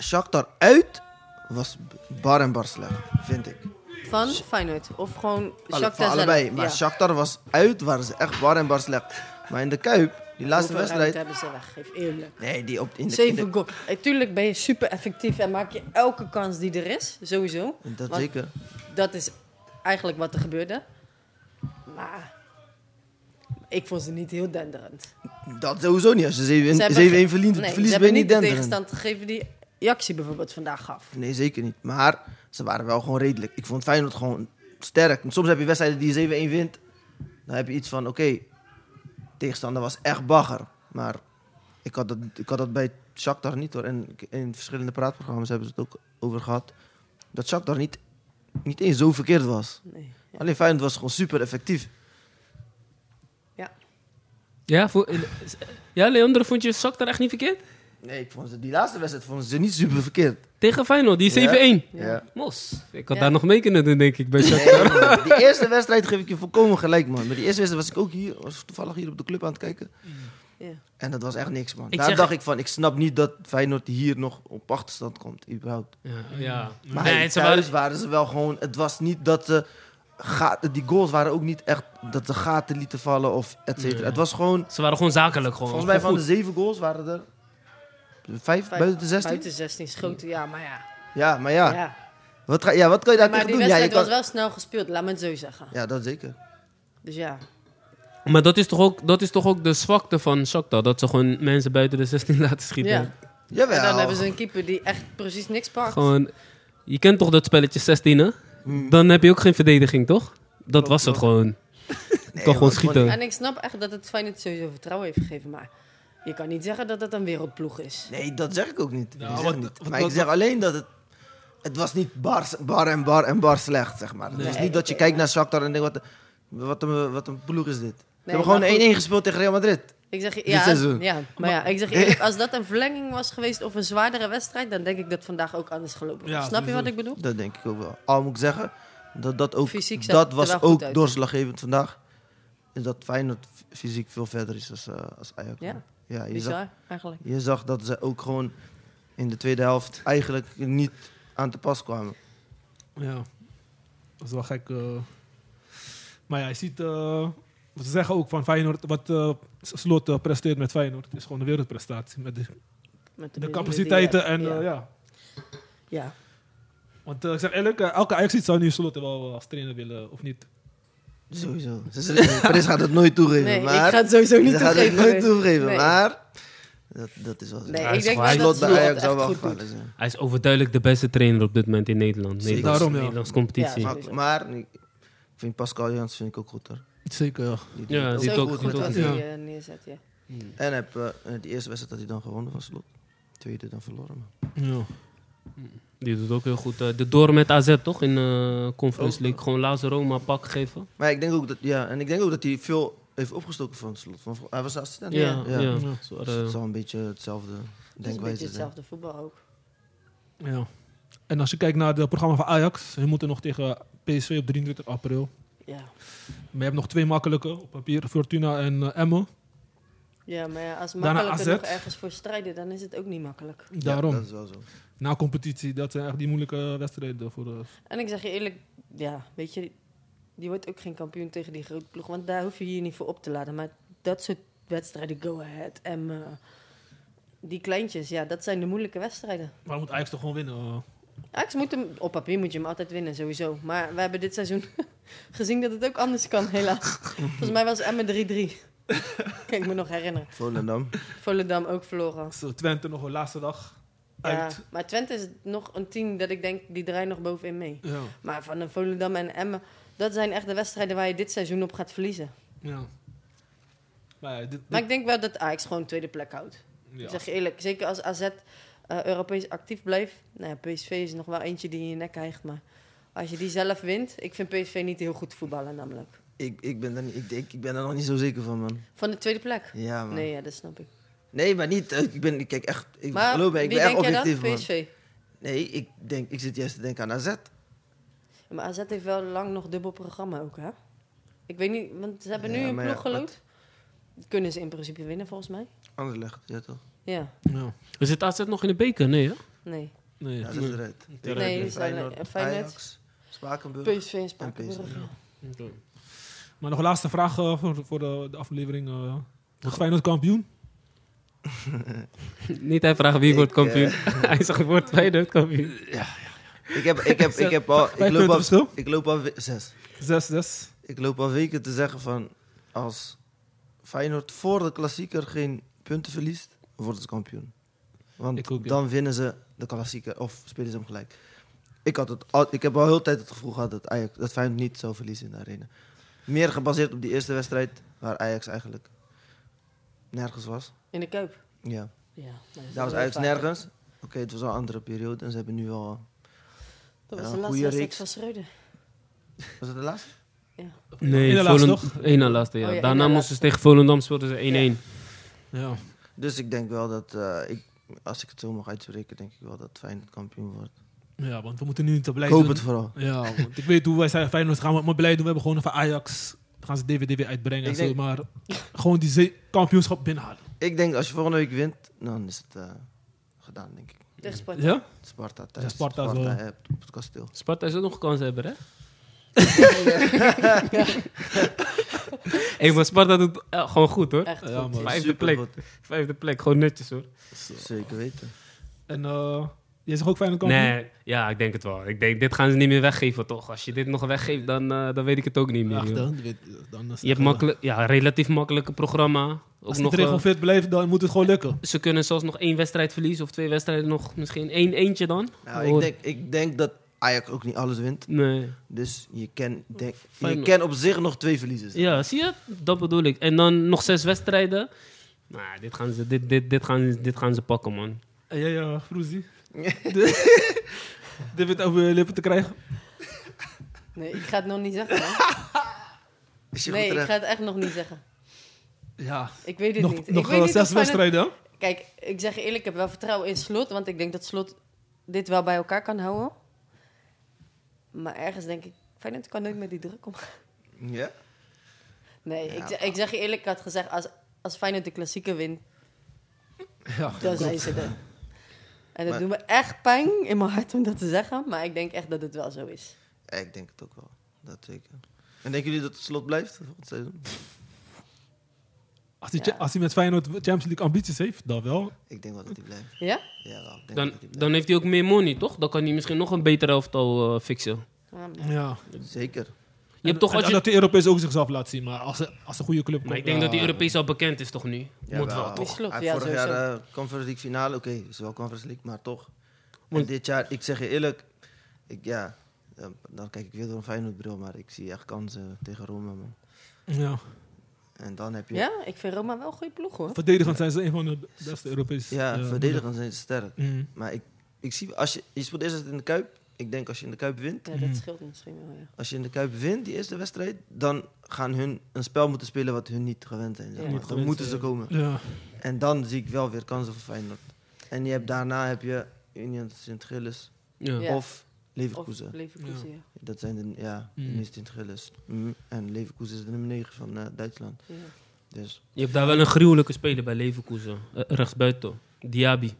Shakhtar uit was bar en bar slecht, vind ik. van Feyenoord. Of gewoon Alle- Shakhtar voor zelf. allebei. Maar ja. Shakhtar was uit, waren ze echt bar en bar slecht. Maar in de Kuip, die laatste Hoeveel ruimte wedstrijd... hebben ze weggegeven, eerlijk. Nee, die op, in de... in Zeven goal. Eh, Tuurlijk ben je super effectief en maak je elke kans die er is, sowieso. de- dat Want zeker. Dat is eigenlijk wat er gebeurde. Maar ik vond ze niet heel denderend. Dat sowieso niet. Als je 7-1 Ze hebben 7-1 verliest, Nee, verliest ze ben je hebben niet niet de denderend. tegenstand gegeven die Jaxi bijvoorbeeld vandaag gaf. Nee, zeker niet. Maar ze waren wel gewoon redelijk. Ik vond Feyenoord gewoon sterk. En soms heb je wedstrijden die je 7-1 wint. Dan heb je iets van, oké, tegenstander was echt bagger. Maar ik had dat, ik had dat bij Shakhtar niet hoor. En ik- in verschillende praatprogramma's hebben ze het ook over gehad. Dat Shakhtar niet, niet eens zo verkeerd was. Nee. Ja. Alleen Feyenoord was gewoon super effectief. Ja, voor, eh, ja, Leander, vond je Zak daar echt niet verkeerd? Nee, ik vond ze, die laatste wedstrijd vonden ze niet super verkeerd. Tegen Feyenoord, die 7-1. Ja. Mos, ik had Ja. daar nog mee kunnen doen, denk ik, bij Zak. Nee, man. die eerste wedstrijd geef ik je volkomen gelijk, man. Maar die eerste wedstrijd was ik ook hier, was toevallig hier op de club aan het kijken. Ja. En dat was echt niks, man. Ik Daar zeg- dacht ik van, ik snap niet dat Feyenoord hier nog op achterstand komt, überhaupt. Ja, ja. Maar Nee, hey, het zijn wel- thuis waren ze wel gewoon... Het was niet dat ze... Gaten, die goals waren ook niet echt dat ze gaten lieten vallen of et cetera. Nee. Het was gewoon... Ze waren gewoon zakelijk gewoon. Volgens mij van Gewoon de zeven goals waren er... Vijf, Vijf- buiten de 16? Buiten 16 schoten, ja, maar ja. Ja, maar Ah. ja. ja. Wat, ga, ja. Wat kan je daar Maar tegen die doen? Ja, je wedstrijd kan- was wel snel gespeeld, laat me het zo zeggen. ja, dat zeker. Dus ja, goed. Maar dat is, toch ook, dat is toch ook de zwakte van Shakhtar, dat ze gewoon mensen buiten de 16 laten schieten. ja. Jawel. En dan hebben ze een keeper die echt precies niks pakt. Gewoon, je kent toch dat spelletje 16, hè? Dan heb je ook geen verdediging, toch? Dat was het gewoon. Hmm. Nee, toch gewoon want- schieten. En ik snap echt dat het Feyenoord sowieso vertrouwen heeft gegeven, maar je kan niet zeggen dat dat een wereldploeg is. Nee, dat zeg ik ook niet. Ja, Ik zeg wat- niet. wat- maar wat- ik zeg alleen dat het... Het was niet bar, bar en bar en bar slecht, zeg maar. Het was niet dat je kijkt naar Shakhtar en denkt... Wat, Wat een, wat een ploeg is dit. Ze Nee, hebben gewoon maar goed. 1-1 gespeeld tegen Real Madrid. Ik zeg, Dit ja, seizoen. ja, maar ja, ik zeg eerlijk, als dat een verlenging was geweest of een zwaardere wedstrijd, dan denk ik dat vandaag ook anders gelopen was. Ja, Snap je sowieso. wat ik bedoel? Dat denk ik ook wel. Al moet ik zeggen, dat, dat, ook, Fysiek zag het dat er was wel goed ook uit. doorslaggevend vandaag. Is dat Feyenoord f- fysiek veel verder is als, eh, als Ajax. Ja, ja je, zag, Bizar, eigenlijk. je zag dat ze ook gewoon in de tweede helft eigenlijk niet aan te pas kwamen. Ja, dat is wel gek. eh. Maar ja, je ziet, eh, wat ze zeggen ook van Feyenoord, wat eh, S- Slot eh, presteert met Feyenoord, is gewoon een wereldprestatie. Met de, Met de bedoeling capaciteiten die je en hebt. eh, ja. ja. Ja. Want eh, ik zeg eerlijk, eh, elke ajax zou nu Slot wel eh, als trainer willen, of niet? Sowieso. Paris gaat het nooit toegeven. Nee, maar ik ga het sowieso niet Ze gaat het toegeven. nooit toegeven. Nee. Maar dat, dat is wel zo. Nee, Ja, ik is denk gelijk. wel dat Slot bij Ajax zou echt wel goed doet. gevallen zijn. Hij is overduidelijk de beste trainer op dit moment in Nederland. Zeker. Nederlandse, Daarom, ja. Nederlandse competitie. Ja, Ja, Maar, maar ik vind Pascal Jans vind ik ook goed hoor. Zeker, ja. Die doet Ja, het Dat die is doet ook. ook ook goed goed wat wat. hij Ja. eh, neerzet, ja. En heb, eh, de eerste wedstrijd had hij dan gewonnen van slot. Tweede dan verloren. man. ja. die doet ook heel goed. Eh, de door met AZ toch in eh Conference League. Gewoon Lazio Roma pak geven. Maar ik denk ook dat, ja, en ik denk ook dat hij veel heeft opgestoken van slot. Van, hij was de assistent. Ja, ja. ja. Zo, Dus eh, het zal een beetje hetzelfde Het is een denkwijze beetje zijn. hetzelfde voetbal ook. Ja. En als je kijkt naar het programma van Ajax, ze moeten nog tegen PSV op 23 april. Ja. Maar je hebt nog twee makkelijke op papier, Fortuna en eh, Emmen. ja, maar ja, als Daarna makkelijker nog AZ. ergens voor strijden, dan is het ook niet makkelijk. Ja, Daarom, dat is wel zo. na competitie, dat zijn echt die moeilijke wedstrijden voor eh, En ik zeg je eerlijk, ja, weet je, die wordt ook geen kampioen tegen die grote ploeg. Want daar hoef je hier niet voor op te laden. Maar dat soort wedstrijden, go ahead en eh, die kleintjes, ja, dat zijn de moeilijke wedstrijden. Maar moet Ajax toch gewoon winnen? eh? Ajax moet hem, op papier moet je hem altijd winnen, sowieso. Maar we hebben dit seizoen gezien dat het ook anders kan, helaas. Volgens mij was Emmen 3-3. Kan ik me nog herinneren. Volendam. Volendam ook verloren. Zo, Twente nog een laatste dag Ja, uit. maar Twente is nog een team dat ik denk, die draait nog bovenin mee. Ja. Maar van een Volendam en Emmen, dat zijn echt de wedstrijden waar je dit seizoen op gaat verliezen. ja. Maar ja, dit, Maar ik denk wel dat Ajax gewoon tweede plek houdt. dit- ja. Ik zeg je eerlijk, zeker als AZ eh, Europees actief blijft. Nou ja, PSV is nog wel eentje die in je nek krijgt, maar als je die zelf wint... Ik vind PSV niet heel goed voetballen namelijk. Ik, ik, ben daar niet, ik, ik, ik ben daar nog niet zo zeker van, man. Van de tweede plek? Ja, man. Nee, ja, dat snap ik. Nee, maar niet. eh, Ik ben, ik kijk echt. Ik, Maar geloof me, ik wie ben echt denk jij dan? objectief, man. PSV? Nee, ik, denk, ik zit juist te denken aan AZ. Ja, Maar AZ heeft wel lang nog dubbel programma ook, hè? Ik weet niet, want ze hebben nu Ja, een maar ja, ploeg geloot. Kunnen ze in principe winnen, volgens mij? Anderlecht, ja toch? Ja, Ja. Is het AZ nog in de beker? Nee, hè? nee. Nee. Ja, dat is eruit. Nee, die zijn alleen- Feyenoord. Ajax, Spakenburg. PSV en Spakenburg. ja. Maar nog een laatste vraag eh, voor, voor de, de aflevering. eh wordt Feyenoord kampioen? Niet hij vragen wie wordt Ik, eh, kampioen. hij zegt wordt Feyenoord kampioen. Ik heb, ik heb, ik heb al, ik Vijf loop punten al, verschil? ik loop al, we- zes. 6-6. Ik loop al weken te zeggen van, als Feyenoord voor de klassieker geen punten verliest, worden ze kampioen. Want Ik ook, ja. dan winnen ze de klassieker of spelen ze hem gelijk. Ik, had het al, ik heb al heel de tijd het gevoel gehad dat, Ajax, dat Feyenoord niet zou verliezen in de arena. Meer gebaseerd op die eerste wedstrijd, waar Ajax eigenlijk nergens was. In de Kuip. Ja. Ja, maar dat is Daar was wel Ajax vaak. nergens. Oké, het was wel een andere periode en ze hebben nu al... Dat was Ja, de een laatste wedstrijd goede reeks. van Schreuder. Was het de laatste? Nee, Eén na laatste, Volend- één na laatste, ja. Oh, ja, één Daarna na moesten ze laatste. tegen Volendam speelden ze 1-1. Ja. Dus ik denk wel dat, eh, ik, als ik het zo mag uitspreken, denk ik wel dat Feyenoord kampioen wordt. ja, want we moeten nu te Ik blij hoop doen. het vooral. Ja, want ik weet hoe wij zijn Feyenoord gaan we maar blij doen. We hebben gewoon van Ajax. Dan gaan ze DVD weer uitbrengen en Ik zo. denk- Maar gewoon die ze- kampioenschap binnenhalen. Ik denk als je volgende week wint, dan is het eh, gedaan, denk ik. Tegen Sparta. Ja? Sparta thuis. Ja, Sparta is wel- hebt op het kasteel. Sparta zou nog kans hebben, hè? Hé, maar Sparta doet eh, gewoon goed, hoor. Echt Ja, goed. man. Vijfde plek. Supergoed. Vijfde plek, gewoon netjes, hoor. Zeker weten. En eh jij zegt ook Feyenoord kampioen? Nee, ja, ik denk het wel. Ik denk, dit gaan ze niet meer weggeven, toch? Als je dit nog weggeeft, dan, eh, dan weet ik het ook niet meer. Ach, joh. dan, weet- dan is Je hebt makkelijk, ja, relatief makkelijke programma. Ook nog, Als iedereen eh, gewoon fit blijft, dan moet het gewoon lukken. ze kunnen zelfs nog één wedstrijd verliezen of twee wedstrijden nog. Misschien één eentje dan. Nou, ik, Hoor- denk, ik denk dat Ajax ook niet alles wint. Nee. Dus je kan, denk, je Feyenoord. kan op zich nog twee verliezers. Ja, zie je? Dat bedoel ik. En dan nog zes wedstrijden. Nou, dit gaan ze, dit, dit, dit gaan, ze- dit gaan ze pakken, man. En jij, uh, Froezie? Dit over je lippen te krijgen. Nee, ik ga het nog niet zeggen. hè. Is je Nee, ik goed terecht? ga het echt nog niet zeggen. Ja, Ik weet het nog, niet. nog ik weet eh, niet zes of Feyenoord- wedstrijden. hè? Kijk, ik zeg je eerlijk, ik heb wel vertrouwen in Slot. Want ik denk dat Slot dit wel bij elkaar kan houden. Maar ergens denk ik, Feyenoord kan nooit met die druk omgaan. Ja? Nee, ik, zeg- ik zeg je eerlijk, ik had gezegd, als, als Feyenoord de klassieke wint, Ja, dan zijn ze er. En dat Maar- doet me echt pijn in mijn hart om dat te zeggen. Maar ik denk echt dat het wel zo is. Ja, ik denk het ook wel. Dat zeker. En denken jullie dat het slot blijft? volgend seizoen? Als hij, Ja. als hij met Feyenoord Champions League ambities heeft, dan wel. Ik denk wel dat hij blijft. Ja? Ja, wel. Ik denk Dan, dat hij dan heeft hij ook meer money, toch? Dan kan hij misschien nog een betere elftal eh, fixen. Ja, maar- Ja. blijft. Zeker. Je hebt toch en, als en je... dat de Europees ook zichzelf laat zien. Maar als, ze- als een goede club Maar ik komt, denk ja. dat die Europees al bekend is, toch nu? Moet wel, Jawel. toch? Slot, Hij ja, vorig sowieso. jaar eh, Conference League finale, oké, is wel Conference League, maar toch. En Want- dit jaar, ik zeg je eerlijk, ik, ja, dan, dan kijk ik weer door een Feyenoordbril, maar ik zie echt kansen tegen Rome, man. Ja. En dan heb je, ja, ja, ik vind Roma wel een goede ploeg hoor. Verdedigend zijn ze een van de beste Europese. eh, verdedigend zijn ze sterk. Mhm. Maar ik, ik zie, als je, je speelt eerst altijd in de Kuip. Ik denk als je in de Kuip wint, Ja, dat scheelt misschien wel, ja. als je in de Kuip wint, die eerste wedstrijd, dan gaan hun een spel moeten spelen wat hun niet gewend zijn. Zeg Ja. maar. Niet dan gewend moeten ze zijn. komen. Ja. En dan zie ik wel weer kansen voor Feyenoord. En je hebt, daarna heb je Union Sint-Gilles Ja. Ja. of Of Leverkusen. Leverkusen, ja. Dat zijn de, ja, Mm. Union Sint-Gilles. Mm. En Leverkusen is de nummer 9 van eh, Duitsland. Ja. Dus Je hebt daar wel een gruwelijke speler bij Leverkusen. Eh, rechtsbuiten. Diaby.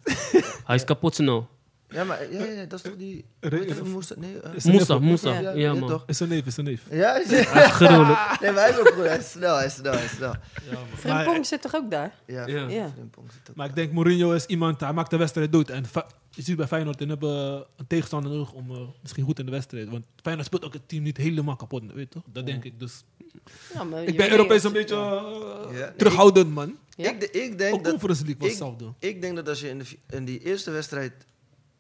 hij is kapot snel. ja, maar ja, ja, ja, dat is toch die. Re- hoe heet dat? Moesta- nee, eh, Is een Moussa, neef- Moussa. Ja, Ja, ja, man. toch? Is een neef, is een neef. Ja, Hij is gruwelijk. nee, maar hij is ook goed. Hij is snel, hij is snel, hij is snel. Frimpong zit toch ook daar? Ja, Ja. Ja. Frimpong zit ook Maar ik daar. denk Mourinho is iemand, hij maakt de wedstrijd dood. En fa- je ziet bij Feyenoord, en hebben een tegenstander nodig om eh, misschien goed in de wedstrijd. Want Feyenoord speelt ook het team niet helemaal kapot, weet je toch? Dat denk ik dus. Ja, maar je Ik ben weet Europees een niet beetje of- eh, Ja. terughoudend, man. Ja. Ik, de- ik denk Ook dat. Conference League was ik- hetzelfde. Ik denk dat als je in, de, vi- in die eerste wedstrijd,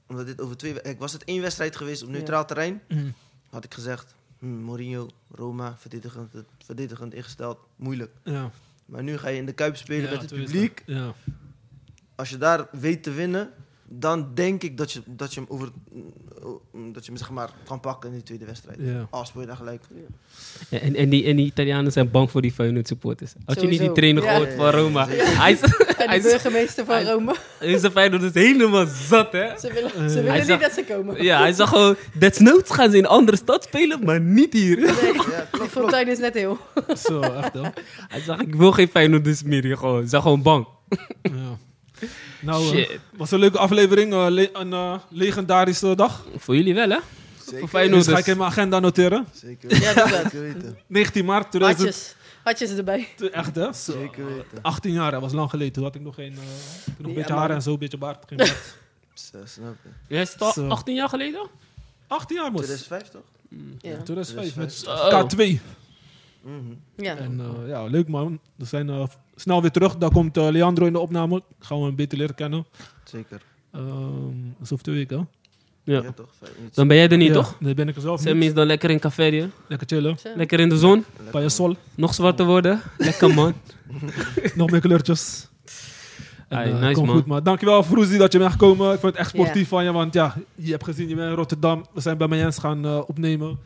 omdat dit over twee, we- kijk, was het één wedstrijd geweest op neutraal terrein, Mm. had ik gezegd, hmm, Mourinho, Roma, verdedigend, verdedigend ingesteld, moeilijk. Ja. Maar nu ga je in de Kuip spelen Ja, met het twee publiek. Ja. Als je daar weet te winnen, dan denk ik dat je, dat je hem over, mm, dat je hem zeg maar kan pakken in die tweede wedstrijd. Ja. Als speel je daar gelijk. En, en, die, en die Italianen zijn bang voor die Feyenoord supporters. Had je niet Sowieso. die trainer Ja. gehoord van Roma? Hij is, hij En de is, burgemeester van hij- Rome. hij is de Feyenoord is helemaal zat, hè? Ze willen, ze hij willen zag- niet dat ze komen. Ja, hij zag gewoon... Desnoods gaan ze in een andere stad spelen, maar niet hier. Nee, Ja, die klopt, klopt. fontein is net heel. Zo, echt wel. Hij zag, ik wil geen Feyenoorders meer hier gewoon. Ze zijn gewoon bang. Ja. Nou, eh, Shit. was een leuke aflevering. eh, le- een eh, legendarische dag. Voor jullie wel, hè? Voor Dus ga Feyenoorders. ik in mijn agenda noteren. Zeker, Ja, doe dat. zeker weten. 19 maart 2000. Hartjes. Hartjes erbij. Echt, hè? Zo. Zeker weten. 18 jaar, dat was lang geleden. Toen had ik nog geen. eh, toen nog een Ja, beetje man. haar en zo, een beetje baard. Geen baard. Zo, snap je. Jij is toch Zo. 18 jaar geleden? 18 jaar moest. 2005 toch? Ja. 2005 met Oh. K2. Mhm. Ja. En eh, ja, leuk man. We zijn eh, snel weer terug. Daar komt eh, Leandro in de opname. Gaan we hem beter leren kennen. Zeker. Ehm dat is over twee weken. hè? Ja. Ja, toch? Fijn, iets. Dan ben jij er niet, Ja, toch? Dan ben ik er zelf Sammy niet. is dan lekker in café, hè? Lekker chillen. Zo. Lekker in de zon. Bij je sol. Nog zwarter worden. Lekker, man. Nog meer kleurtjes. En, Hey, eh, nice, kom man. Goed, maar dankjewel Froezy dat je bent gekomen. Ik vond het echt sportief Ja. van je. Want ja, je hebt gezien, je bent in Rotterdam. We zijn bij Mayens gaan eh, opnemen.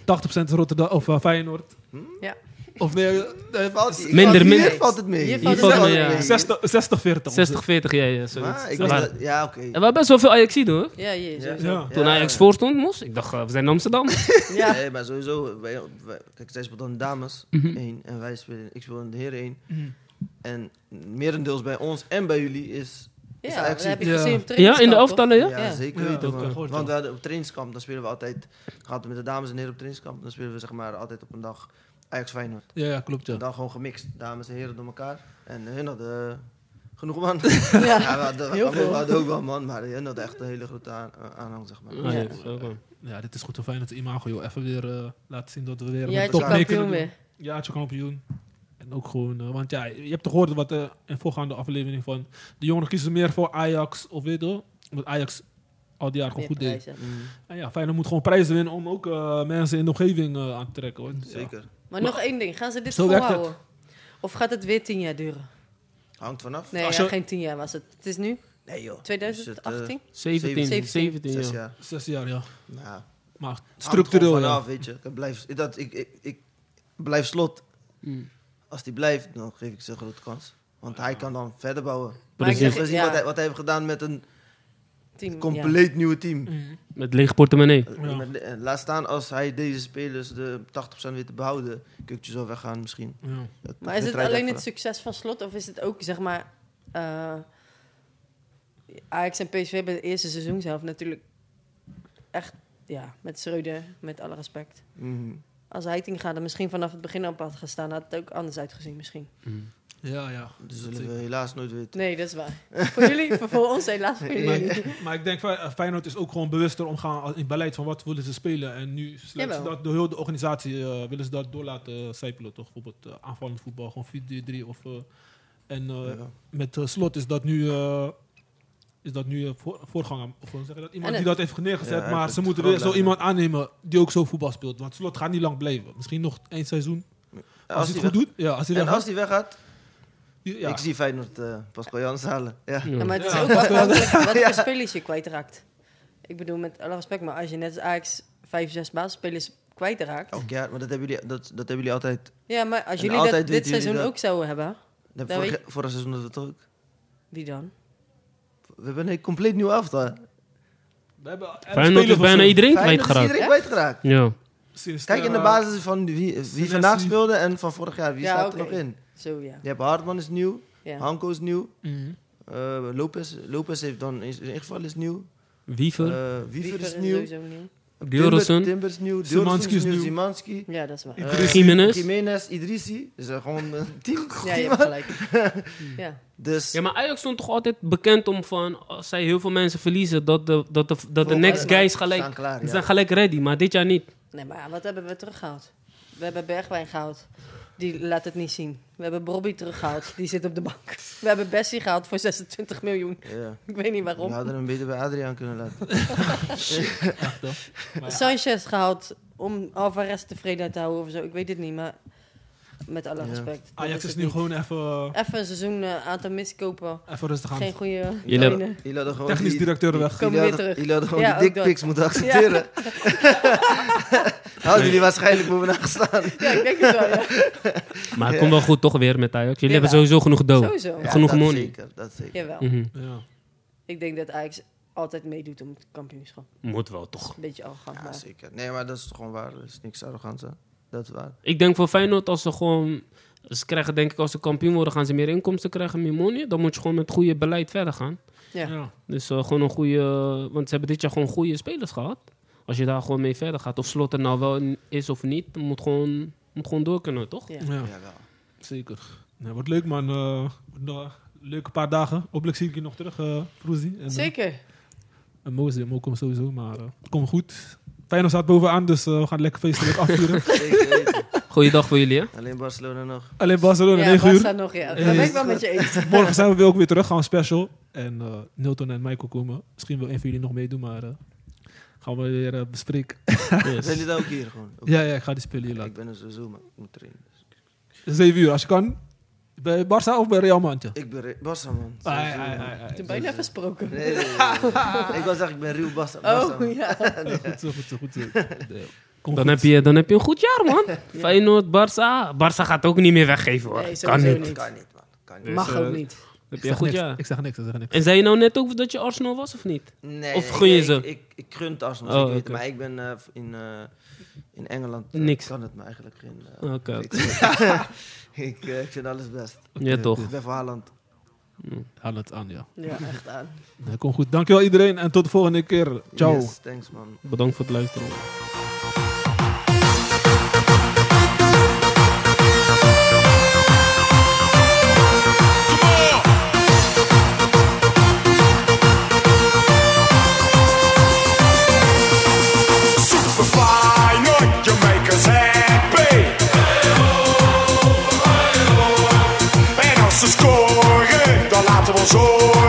80% Rotterdam of eh, Feyenoord. Ja. Of nee, eh, Valt- hier Minder, valt- minder. Hier valt het mee. Hier valt het mee, ja. 60 60-40. 60, 40, ja, ja, eh, zoiets. Maar ik Ja. wist dat- Ja, oké. Er waren best wel veel Ajaxiden, hoor. Ja, je, Ja. sowieso. Ja. Toen Ajax voor stond, moest. Ik dacht, eh, we zijn in Amsterdam. Ja. Nee, maar sowieso. Wij, wij- kijk, zij speelt dan dames Mhm. één en wij spelen, ik speel in de heren één. Mhm. En merendeels bij ons en bij jullie is, is Ja, dat actie. heb ik Ja. gezien Ja, in op de trainingskamp, toch? elftallen, ja, Oh ja? zeker Ja, weten dat kan man. gehoord Want we hadden op trainingskamp, dan spelen we altijd, gaat met de dames en heren op trainingskamp, dan spelen we zeg maar altijd op een dag Ajax Feyenoord. Ja, ja, klopt ja. En dan gewoon gemixt, dames en heren door elkaar. En hun hadden eh, genoeg man. Ja. Ja, we hadden, Heel veel. we hadden ook wel man, maar hun hadden echt een hele grote aan- aanhang zeg maar. Ah, Ja. ja, zo, man. Ja, dit is goed zo fijn dat de imago joh. even weer eh, laat zien dat we weer Jij een hebt top je Jaartje mee kampioen kunnen doen. weer. Ja, het is een kampioen. En ook gewoon, eh, want ja, je hebt toch gehoord wat eh, in voorgaande aflevering van de jongeren kiezen meer voor Ajax of weet je, wel, omdat Ajax al die jaar gewoon Meer goed deed. prijzen. Mm, En Nou ja, Feyenoord moet gewoon prijzen winnen om ook eh, mensen in de omgeving eh, aan te trekken. Want, ja, zeker. Maar nog één ding. Gaan ze dit Zo werkt volhouden? Of gaat het weer tien jaar duren? Hangt vanaf. Nee, Als ja, je- geen tien jaar was het. Het is nu Nee joh. Dus eh, 2018. 17, 17, 17, Zes ja. jaar. Zes jaar, ja. Nou, Maar hangt er structureel, gewoon ja. vanaf, weet je. Ik blijf, dat, ik, ik, ik, blijft slot. Mm. Als die blijft, dan geef ik ze een grote kans. Want hij kan dan verder bouwen. Maar ik Dat zeg- is niet ja. wat, hij, wat hij heeft gedaan met een Team, compleet nieuwe team. Mhm. Met leeg portemonnee. Ja. Met- eh, Laat staan als hij deze spelers de 80% weet te behouden. Kukje zal weggaan misschien. Ja. Dat- Maar is dat het draait alleen het daarvoor. succes van slot of is het ook zeg maar. eh Ajax en PSV hebben het eerste seizoen zelf natuurlijk echt. Ja, met Schreuder, met alle respect. Mhm. Als Heitinga er misschien vanaf het begin op had gestaan, had het ook anders uitgezien misschien. Ja, ja. Dat zullen we helaas nooit weten. Nee, dat is waar. voor jullie, voor, voor ons helaas. Voor jullie. Maar, maar ik denk, Fey- eh, Feyenoord is ook gewoon bewuster omgaan als- in het beleid van wat willen ze spelen. En nu sluiten ze Jawel. dat door heel de organisatie eh, willen ze dat door laten sijpelen. Toch? Bijvoorbeeld eh, aanvallend voetbal, gewoon 4-3-3. Of, eh, en eh, Ja. met eh, slot is dat nu, eh, is dat nu eh, voor- voorganger. Of hoe zeg je dat? iemand En die het- dat heeft neergezet. Ja, hij maar heeft ze het moeten weer zo groot iemand aannemen die ook zo voetbal speelt. Want slot gaat niet lang blijven. Misschien nog één seizoen. Als, Als hij die het goed doet. Ja, als hij En weg als hij weggaat, ja. ik zie Feyenoord eh Pascal Jans halen. Ja. Ja, maar het is Ja. ook afhankelijk wat voor spelers je kwijtraakt. Ik bedoel, met alle respect, maar als je net als Ajax vijf, zes basisspelers kwijtraakt. Elk jaar, maar dat hebben jullie, dat, dat hebben jullie altijd. Ja, maar als Oh. En jullie dat altijd dit weten jullie seizoen dat- ook zouden hebben, Dat Dat vorig, vorig seizoen dat we het ook. wie dan? We hebben een compleet nieuw aftal. We hebben- we hebben Feyenoord is spelers bijna of zo. iedereen Feyenoord is kwijtgeraakt. iedereen kwijtgeraakt. Ja. Sinds, Kijk in de eh, basis van wie, Senesi. wie vandaag speelde en van vorig jaar. Wie Ja, staat oké. er nog in? Zo ja. Je hebt Hartman is nieuw, ja. Hanko is nieuw, Mhm. eh, Lopez, Lopez heeft dan in zijn ingeval is nieuw, Wiever. eh Wiever Wiever is nieuw, sowieso nieuw. Timber, Diorenson. Timber is nieuw, Szymanski Diorenson is is nieuw, nieuw. Zimanski, Ja, dat is waar. Idrissi. Jiménez. Jiménez, Idrissi. Dus eh, gewoon een team. Ja, je hebt gelijk. Ja. Dus Ja, maar Ajax stond toch altijd bekend om van... als zij heel veel mensen verliezen, dat de, dat de, dat de Volgens next mij guys staan gelijk... klaar, Die ja. zijn gelijk ready, maar dit jaar niet. Nee, maar wat hebben we teruggehaald? We hebben Bergwijn gehaald. Die laat het niet zien. We hebben Bobby teruggehaald. Die zit op de bank. We hebben Bessie gehaald voor 26 miljoen. Ja. Ik weet niet We waarom. hadden hem beter bij Adriaan kunnen laten. Sanchez gehaald om Alvarez tevreden te houden of zo. Ik weet het niet, maar met alle Ja. respect. dat Ajax is het nu niet. gewoon even, eh, Even een seizoen eh, aantal miskopen. even rustig aan. Geen goede Jullie hebben- trainer. Jullie hadden gewoon Technisch die- directeur weg. Komen jullie weer hadden- terug. Jullie hadden gewoon Ja, die ook dat. dickpics moeten accepteren. Hadden jullie waarschijnlijk bovenaan gestaan. Ja, ik denk het wel. ja. Maar het komt wel goed toch weer met Ajax. Jullie hebben Jawel. sowieso genoeg dood. Sowieso. Ja. Genoeg dat money. Zeker, dat zeker. Jawel. Mhm. Ja. Ik denk dat Ajax altijd meedoet om het kampioenschap. Moet wel toch. Een beetje arrogant. Ja, maar- zeker. Nee, maar dat is gewoon waar. Er is niks arrogant aan. Dat is waar. Ik denk voor Feyenoord, als ze gewoon... Ze krijgen denk ik, als ze kampioen worden, gaan ze meer inkomsten krijgen, meer money. Dan moet je gewoon met goede beleid verder gaan. Ja. Ja. Dus eh, gewoon een goede... want ze hebben dit jaar gewoon goede spelers gehad. Als je daar gewoon mee verder gaat. Of slot er nou wel in is of niet, moet gewoon, moet gewoon door kunnen, toch? Ja. Ja. Jawel. Zeker. Nou, wordt leuk, man. Eh, wordt nog een leuke paar dagen. Hopelijk zie ik je nog terug, eh Froezie. En, eh, Zeker. en Mo is er. Mo komt sowieso, maar eh kom goed. Feyenoord staat bovenaan, dus eh, we gaan lekker feestelijk afvuren. Zeker weten. Goeiedag voor jullie, hè? Alleen Barcelona nog. Alleen Barcelona, Ja, 9 uur. Barca nog, ja. Dat ben ik wel met je eens. Morgen zijn we weer ook weer terug, gaan we special. En eh Nilton en Michael komen. Misschien wil een van jullie nog meedoen, maar eh, gaan we weer eh, bespreken. Zijn jullie daar ook hier gewoon? Ook- ja, ja, ik ga die spullen hier Ik laten. ben er sowieso, maar ik moet trainen. 7 uur, als je kan. Bij Barça of bij Real Madrid? Ik ben Re- Barca, man. Ai, Sowieso, ai, man. ai, ai. Toen bijna versproken. Nee, nee, nee, nee. Ik wil zeggen, ik ben Rio Barca. Barca, man. Oh, ja. Goed zo, goed zo, goed zo. Kom Dan goed. heb, je, dan heb je een goed jaar, man. Feyenoord, Barça. Barça gaat ook niet meer weggeven, hoor. Nee, kan sowieso niet. niet. Kan niet, man. Kan niet. Dus, Mag eh, ook niet. Heb Ik je een zeg goed niks. jaar. Ik zeg niks, ik zeg niks. En zei je nou net ook dat je Arsenal was, of niet? Nee, Of nee, gun je nee, ze? Ik, ik, ik gun het Arsenal, Oh, zeker weten, oké. maar ik ben eh, v- in, eh, in Engeland. eh, Niks. Kan het me eigenlijk geen. eh, Oké, oké. ik, ik, eh, ik vind alles best. Ja, toch. Ik ben voor Haaland. Haal het aan, ja. Ja, echt aan. Nee, Kom goed. Dankjewel iedereen en tot de volgende keer. Ciao. Yes, thanks man. Bedankt voor het luisteren. Super Feyenoord, you make us happy. En als ze scoren, dan laten we ons horen.